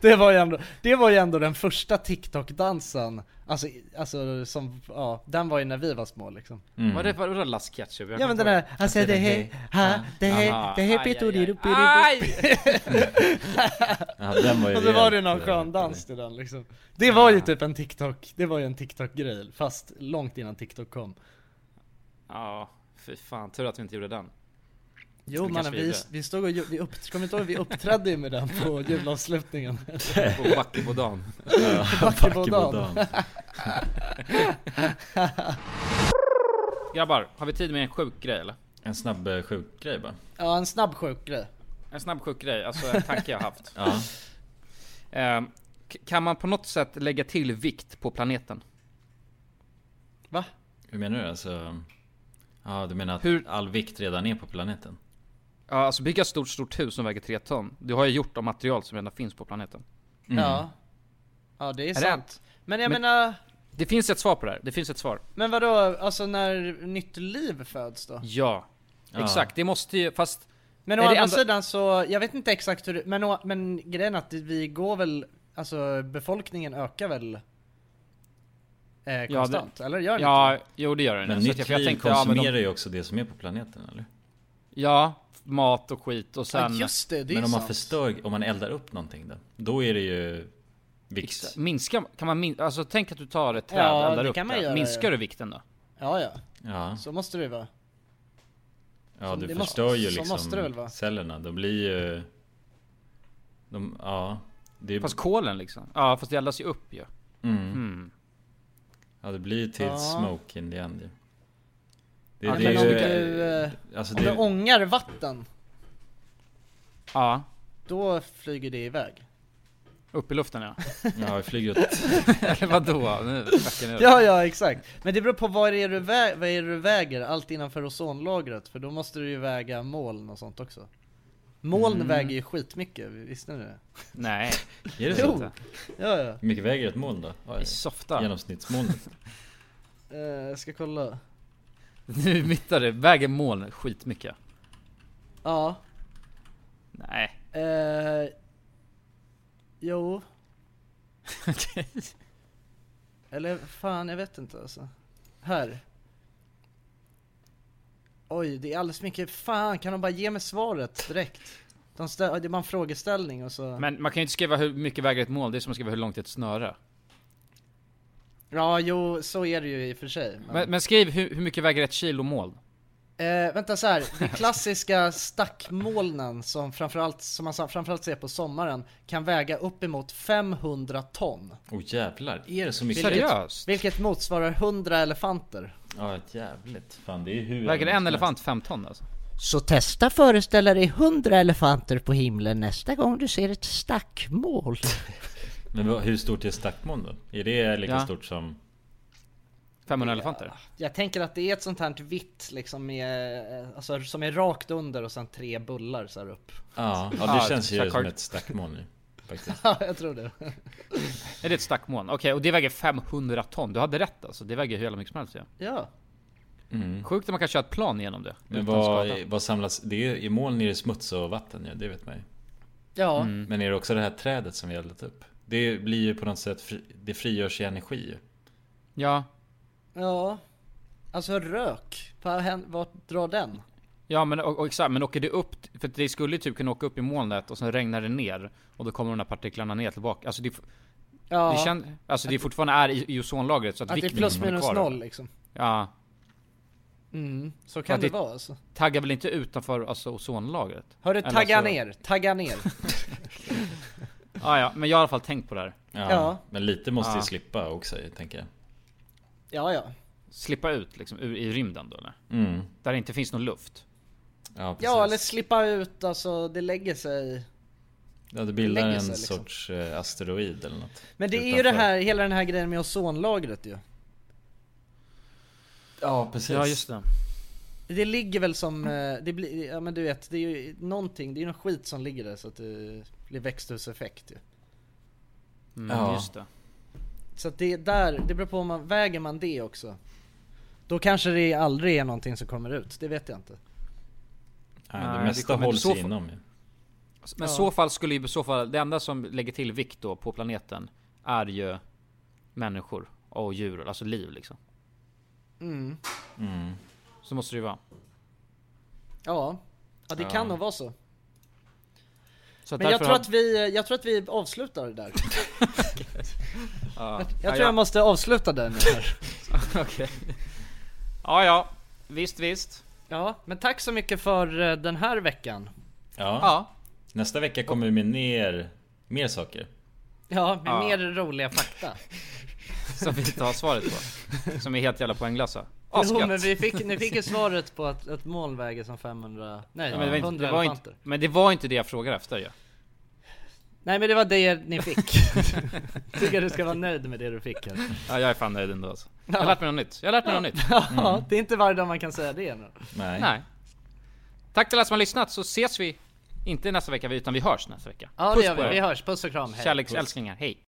[SPEAKER 1] det, var ju ändå, det var ju ändå den första TikTok-dansen, alltså, alltså som, ja, den var ju när vi var små liksom.
[SPEAKER 3] Var det vadå Last Ketchup? Jag
[SPEAKER 1] Ja
[SPEAKER 3] kommer
[SPEAKER 1] men
[SPEAKER 3] inte
[SPEAKER 1] den
[SPEAKER 3] ihåg.
[SPEAKER 1] här, alltså det här, ha, det här,
[SPEAKER 3] Aha,
[SPEAKER 1] det här
[SPEAKER 3] aj, aj,
[SPEAKER 1] pittorirupi
[SPEAKER 3] aj.
[SPEAKER 2] Ja, den var ju
[SPEAKER 1] Och så var det
[SPEAKER 2] rejält,
[SPEAKER 1] någon
[SPEAKER 2] eh,
[SPEAKER 1] skön dans till den liksom. Det var ju typ en TikTok, det var ju en TikTok-grej, fast långt innan TikTok kom.
[SPEAKER 3] Ja, fy fan. Tur att vi inte gjorde den.
[SPEAKER 1] Jo
[SPEAKER 3] Det kanske
[SPEAKER 1] mannen, vi,
[SPEAKER 3] gjorde.
[SPEAKER 1] vi stod och ju- vi upp, kommer du inte ihåg, vi uppträdde ju med den på julavslutningen.
[SPEAKER 3] På Backebodan.
[SPEAKER 1] Ja, Backebodan.
[SPEAKER 3] Grabbar, har vi tid med en sjuk grej eller?
[SPEAKER 2] En snabb eh, sjuk grej bara.
[SPEAKER 1] Ja, en snabb sjuk grej.
[SPEAKER 3] En snabb sjuk grej, alltså en tanke jag haft.
[SPEAKER 2] Ja.
[SPEAKER 3] Ehm, k- kan man på något sätt lägga till vikt på planeten?
[SPEAKER 2] Hur menar du? Alltså... Ja, du menar att all vikt redan är på planeten?
[SPEAKER 3] Ja, alltså bygga ett stort, stort hus som väger 3 ton. Det har jag gjort av material som redan finns på planeten.
[SPEAKER 2] Mm.
[SPEAKER 1] Ja. Ja det är,
[SPEAKER 3] Är det
[SPEAKER 1] sant.
[SPEAKER 3] sant?
[SPEAKER 1] Men jag
[SPEAKER 3] Men-
[SPEAKER 1] menar,
[SPEAKER 3] Det finns ett svar på det här. Det finns ett svar.
[SPEAKER 1] men vadå, alltså när nytt liv föds då?
[SPEAKER 3] Ja.
[SPEAKER 1] Ja.
[SPEAKER 3] Exakt, det måste ju, fast...
[SPEAKER 1] Men å
[SPEAKER 3] är det
[SPEAKER 1] andra
[SPEAKER 3] ändå-
[SPEAKER 1] sidan så, jag vet inte exakt hur det- men, å- men grejen är att vi går väl, alltså befolkningen ökar väl eh,
[SPEAKER 3] det-
[SPEAKER 1] konstant? eller gör den
[SPEAKER 3] Ja,
[SPEAKER 1] inte?
[SPEAKER 3] jo det gör den.
[SPEAKER 2] Men
[SPEAKER 3] Så att
[SPEAKER 2] nytt
[SPEAKER 3] jag- för jag
[SPEAKER 2] liv
[SPEAKER 3] tänkte, ja, men de-
[SPEAKER 2] konsumerar ju också det som är på planeten, eller?
[SPEAKER 3] Ja, mat och skit och sen...
[SPEAKER 2] Men om man förstör, om man eldar upp någonting då? Då är det ju vikt.
[SPEAKER 3] Minska, kan man min... Alltså tänk att du tar ett träd
[SPEAKER 1] Ja,
[SPEAKER 3] och eldar
[SPEAKER 1] det
[SPEAKER 3] upp
[SPEAKER 1] kan man
[SPEAKER 3] det.
[SPEAKER 1] göra,
[SPEAKER 3] Minskar
[SPEAKER 1] ja.
[SPEAKER 3] du vikten då?
[SPEAKER 1] Ja, ja.
[SPEAKER 2] Ja.
[SPEAKER 1] Så måste det ju vara.
[SPEAKER 2] Ja,
[SPEAKER 1] Som
[SPEAKER 2] du
[SPEAKER 1] det måste-
[SPEAKER 2] förstör ju
[SPEAKER 1] så
[SPEAKER 2] liksom
[SPEAKER 1] måste det väl vara.
[SPEAKER 2] cellerna. De blir ju... De, ja. Det är,
[SPEAKER 3] Fast kolen liksom? Ja, fast det eldas ju upp ju.
[SPEAKER 2] Mm. Ja, det blir ju till
[SPEAKER 1] Ja.
[SPEAKER 2] smoke in the end ju. Det,
[SPEAKER 3] Ja,
[SPEAKER 2] det
[SPEAKER 3] men
[SPEAKER 2] är
[SPEAKER 3] om
[SPEAKER 2] ju,
[SPEAKER 3] du,
[SPEAKER 2] eh,
[SPEAKER 1] eh,
[SPEAKER 2] alltså
[SPEAKER 1] om
[SPEAKER 2] det,
[SPEAKER 1] du ångar vatten,
[SPEAKER 3] Ja,
[SPEAKER 1] då flyger det iväg.
[SPEAKER 3] upp i luften ja.
[SPEAKER 2] Ja, vi flyger åt-
[SPEAKER 3] Eller vadå? Nu backar ni upp.
[SPEAKER 1] Ja, ja, exakt. Men det beror på vad det är du, vä- vad är det du väger, allt innanför ozonlagret, för då måste du ju väga moln och sånt också. Moln
[SPEAKER 2] Mm.
[SPEAKER 1] väger ju skitmycket, visste ni det?
[SPEAKER 3] Nej.
[SPEAKER 2] Är det så?
[SPEAKER 1] Jo! Ja, ja.
[SPEAKER 2] Hur mycket väger ett moln då? Oj,
[SPEAKER 3] softa.
[SPEAKER 2] Genomsnittsmolnet.
[SPEAKER 1] Eh, jag ska kolla.
[SPEAKER 3] Nu mittar det, väger moln skitmycket.
[SPEAKER 1] Ja.
[SPEAKER 3] Nej.
[SPEAKER 1] Eh, jo. Eller fan, jag vet inte alltså. Här. Oj, det är alldeles mycket. Fan, kan de bara ge mig svaret direkt? De stä- det är bara en frågeställning och så...
[SPEAKER 3] Men man kan ju inte skriva hur mycket väger ett moln, det är som att skriva hur långt är ett snöre.
[SPEAKER 1] Ja, jo, så är det ju i och för sig. Men...
[SPEAKER 3] Men, men skriv hur, hur mycket väger ett kilo moln?
[SPEAKER 1] Eh, vänta så här, de klassiska stackmolnen som framförallt, som man sa- framförallt ser på sommaren kan väga uppemot 500 ton.
[SPEAKER 2] Åh jävlar, är det så mycket?
[SPEAKER 1] Vilket motsvarar 100 elefanter.
[SPEAKER 2] Ja, ett jävligt. Fan, det är hur
[SPEAKER 3] Väger
[SPEAKER 2] jävligt som
[SPEAKER 3] en
[SPEAKER 2] helst.
[SPEAKER 3] elefant fem ton alltså?
[SPEAKER 15] Så testa föreställa dig hundra elefanter på himlen nästa gång du ser ett stackmål.
[SPEAKER 2] Men vad- hur stort är stackmoln då? Är det lika
[SPEAKER 1] Ja.
[SPEAKER 2] stort som...
[SPEAKER 3] 500 elefanter?
[SPEAKER 1] Jag tänker att det är ett sånt här vitt liksom med, eh, alltså, som är rakt under och sen tre bullar så här upp.
[SPEAKER 2] Ja, ja det känns ju som ett stackmoln nu. Faktiskt.
[SPEAKER 1] Ja, jag tror det.
[SPEAKER 3] Är det ett stackmoln? Okej, och det väger 500 ton. Du hade rätt alltså. Det väger hur jävla mycket som helst ja.
[SPEAKER 1] Ja.
[SPEAKER 2] Mm.
[SPEAKER 3] Sjukt att man kan köra ett plan genom det.
[SPEAKER 2] Men
[SPEAKER 3] utan skada.
[SPEAKER 2] vad, vad samlas... Det är, I moln är det smuts och vatten ja, det vet man ju.
[SPEAKER 1] Ja.
[SPEAKER 3] Mm.
[SPEAKER 2] Men är det också det här trädet som vi har eldat upp? Det blir ju på något sätt... Fri, det frigörs ju energi ju.
[SPEAKER 3] Ja.
[SPEAKER 1] Ja. Alltså rök, vad hän- vart drar den?
[SPEAKER 3] Ja men, och, och, exakt, men åker det upp, t- för det skulle ju typ kunna åka upp i molnet och sen regnar det ner. Och då kommer de här partiklarna ner tillbaka. Alltså det, f-
[SPEAKER 1] Ja.
[SPEAKER 3] det, kän, alltså det fortfarande är i, i ozonlagret så att,
[SPEAKER 1] Att det är
[SPEAKER 3] vikten
[SPEAKER 1] plus
[SPEAKER 3] kommer
[SPEAKER 1] minus
[SPEAKER 3] kvar.
[SPEAKER 1] noll liksom.
[SPEAKER 3] Ja.
[SPEAKER 1] Mm, så kan
[SPEAKER 3] Att
[SPEAKER 1] det vara alltså.
[SPEAKER 3] Taggar väl inte utanför alltså, ozonlagret?
[SPEAKER 1] Hörru,
[SPEAKER 3] Eller
[SPEAKER 1] tagga
[SPEAKER 3] alltså-
[SPEAKER 1] ner, tagga ner.
[SPEAKER 3] Ja, ja, men jag har i alla fall tänkt på det här.
[SPEAKER 2] Ja,
[SPEAKER 1] Ja.
[SPEAKER 2] Men lite måste ju
[SPEAKER 3] Ja.
[SPEAKER 2] slippa också tänker jag.
[SPEAKER 1] ja, ja.
[SPEAKER 3] Slippa ut liksom ur, i rymden då eller?
[SPEAKER 2] Mm.
[SPEAKER 3] Där det inte finns någon luft.
[SPEAKER 2] Ja, precis.
[SPEAKER 1] Ja, eller slippa ut, alltså det lägger sig.
[SPEAKER 2] Ja, det bildar
[SPEAKER 1] lägger
[SPEAKER 2] en
[SPEAKER 1] sig, liksom.
[SPEAKER 2] sorts eh, asteroid eller något.
[SPEAKER 1] Men det är ju
[SPEAKER 2] Utanför.
[SPEAKER 1] det här, hela den här grejen med ozonlagret ju.
[SPEAKER 2] Ja, precis.
[SPEAKER 3] Ja, just det.
[SPEAKER 1] Det ligger väl som, eh, det blir, ja men du vet, det är ju någonting, det är ju någon skit som ligger där så att det blir växthuseffekt ju.
[SPEAKER 3] Mm,
[SPEAKER 2] Ja.
[SPEAKER 3] just det.
[SPEAKER 1] Så att det är där, det beror på om man, väger man det också? Då kanske det aldrig är någonting som kommer ut, det vet jag inte.
[SPEAKER 2] Ja,
[SPEAKER 3] Nej,
[SPEAKER 2] det
[SPEAKER 3] det
[SPEAKER 2] mesta
[SPEAKER 3] kommer-
[SPEAKER 2] hålls
[SPEAKER 3] så får-
[SPEAKER 2] inom ju.
[SPEAKER 3] Men
[SPEAKER 1] Ja.
[SPEAKER 3] så fall skulle ju i så fall, det enda som lägger till vikt då på planeten är ju människor och djur, alltså liv liksom.
[SPEAKER 1] Mm.
[SPEAKER 3] Så måste det ju vara.
[SPEAKER 1] Ja. ja, det
[SPEAKER 3] Ja.
[SPEAKER 1] kan nog vara så.
[SPEAKER 3] Så
[SPEAKER 1] Men jag
[SPEAKER 3] därför
[SPEAKER 1] tror,
[SPEAKER 3] har-
[SPEAKER 1] att vi, eh, jag tror att vi avslutar det där.
[SPEAKER 3] Ja.
[SPEAKER 1] Jag
[SPEAKER 3] Ja,
[SPEAKER 1] tror
[SPEAKER 3] ja.
[SPEAKER 1] jag måste avsluta den här.
[SPEAKER 3] Okej. Ja, ja. Visst, visst.
[SPEAKER 1] Ja, men tack så mycket för eh, den här veckan.
[SPEAKER 2] Ja.
[SPEAKER 1] Ja.
[SPEAKER 2] Nästa vecka kommer vi med ner, mer saker.
[SPEAKER 1] Ja, med
[SPEAKER 3] Ja.
[SPEAKER 1] mer roliga fakta.
[SPEAKER 3] Som vi inte har svaret på. Som är helt jävla poänglösa.
[SPEAKER 1] Jo,
[SPEAKER 3] Asgött.
[SPEAKER 1] men vi fick, ni fick ju svaret på att ett moln väger som 500, nej
[SPEAKER 3] Ja, men, det var inte,
[SPEAKER 1] 100
[SPEAKER 3] det var
[SPEAKER 1] elefanter.
[SPEAKER 3] inte, men det var inte det jag frågade efter ju. Ja.
[SPEAKER 1] Nej men det var det ni fick. Tycker du ska vara nöjd med det du fick här.
[SPEAKER 3] Ja, jag är fan nöjd ändå alltså. Jag har lärt mig något nytt. Jag har lärt mig något nytt. Mm.
[SPEAKER 1] Ja, det är inte varje dag man kan säga det nu.
[SPEAKER 2] Nej.
[SPEAKER 3] Nej. Tack till alla som har lyssnat så ses vi, inte nästa vecka utan vi hörs nästa vecka.
[SPEAKER 1] Ja det
[SPEAKER 3] Puss
[SPEAKER 1] gör
[SPEAKER 3] på
[SPEAKER 1] vi,
[SPEAKER 3] er.
[SPEAKER 1] vi hörs, puss och kram, hej.
[SPEAKER 3] Kärleksälsklingar, hej.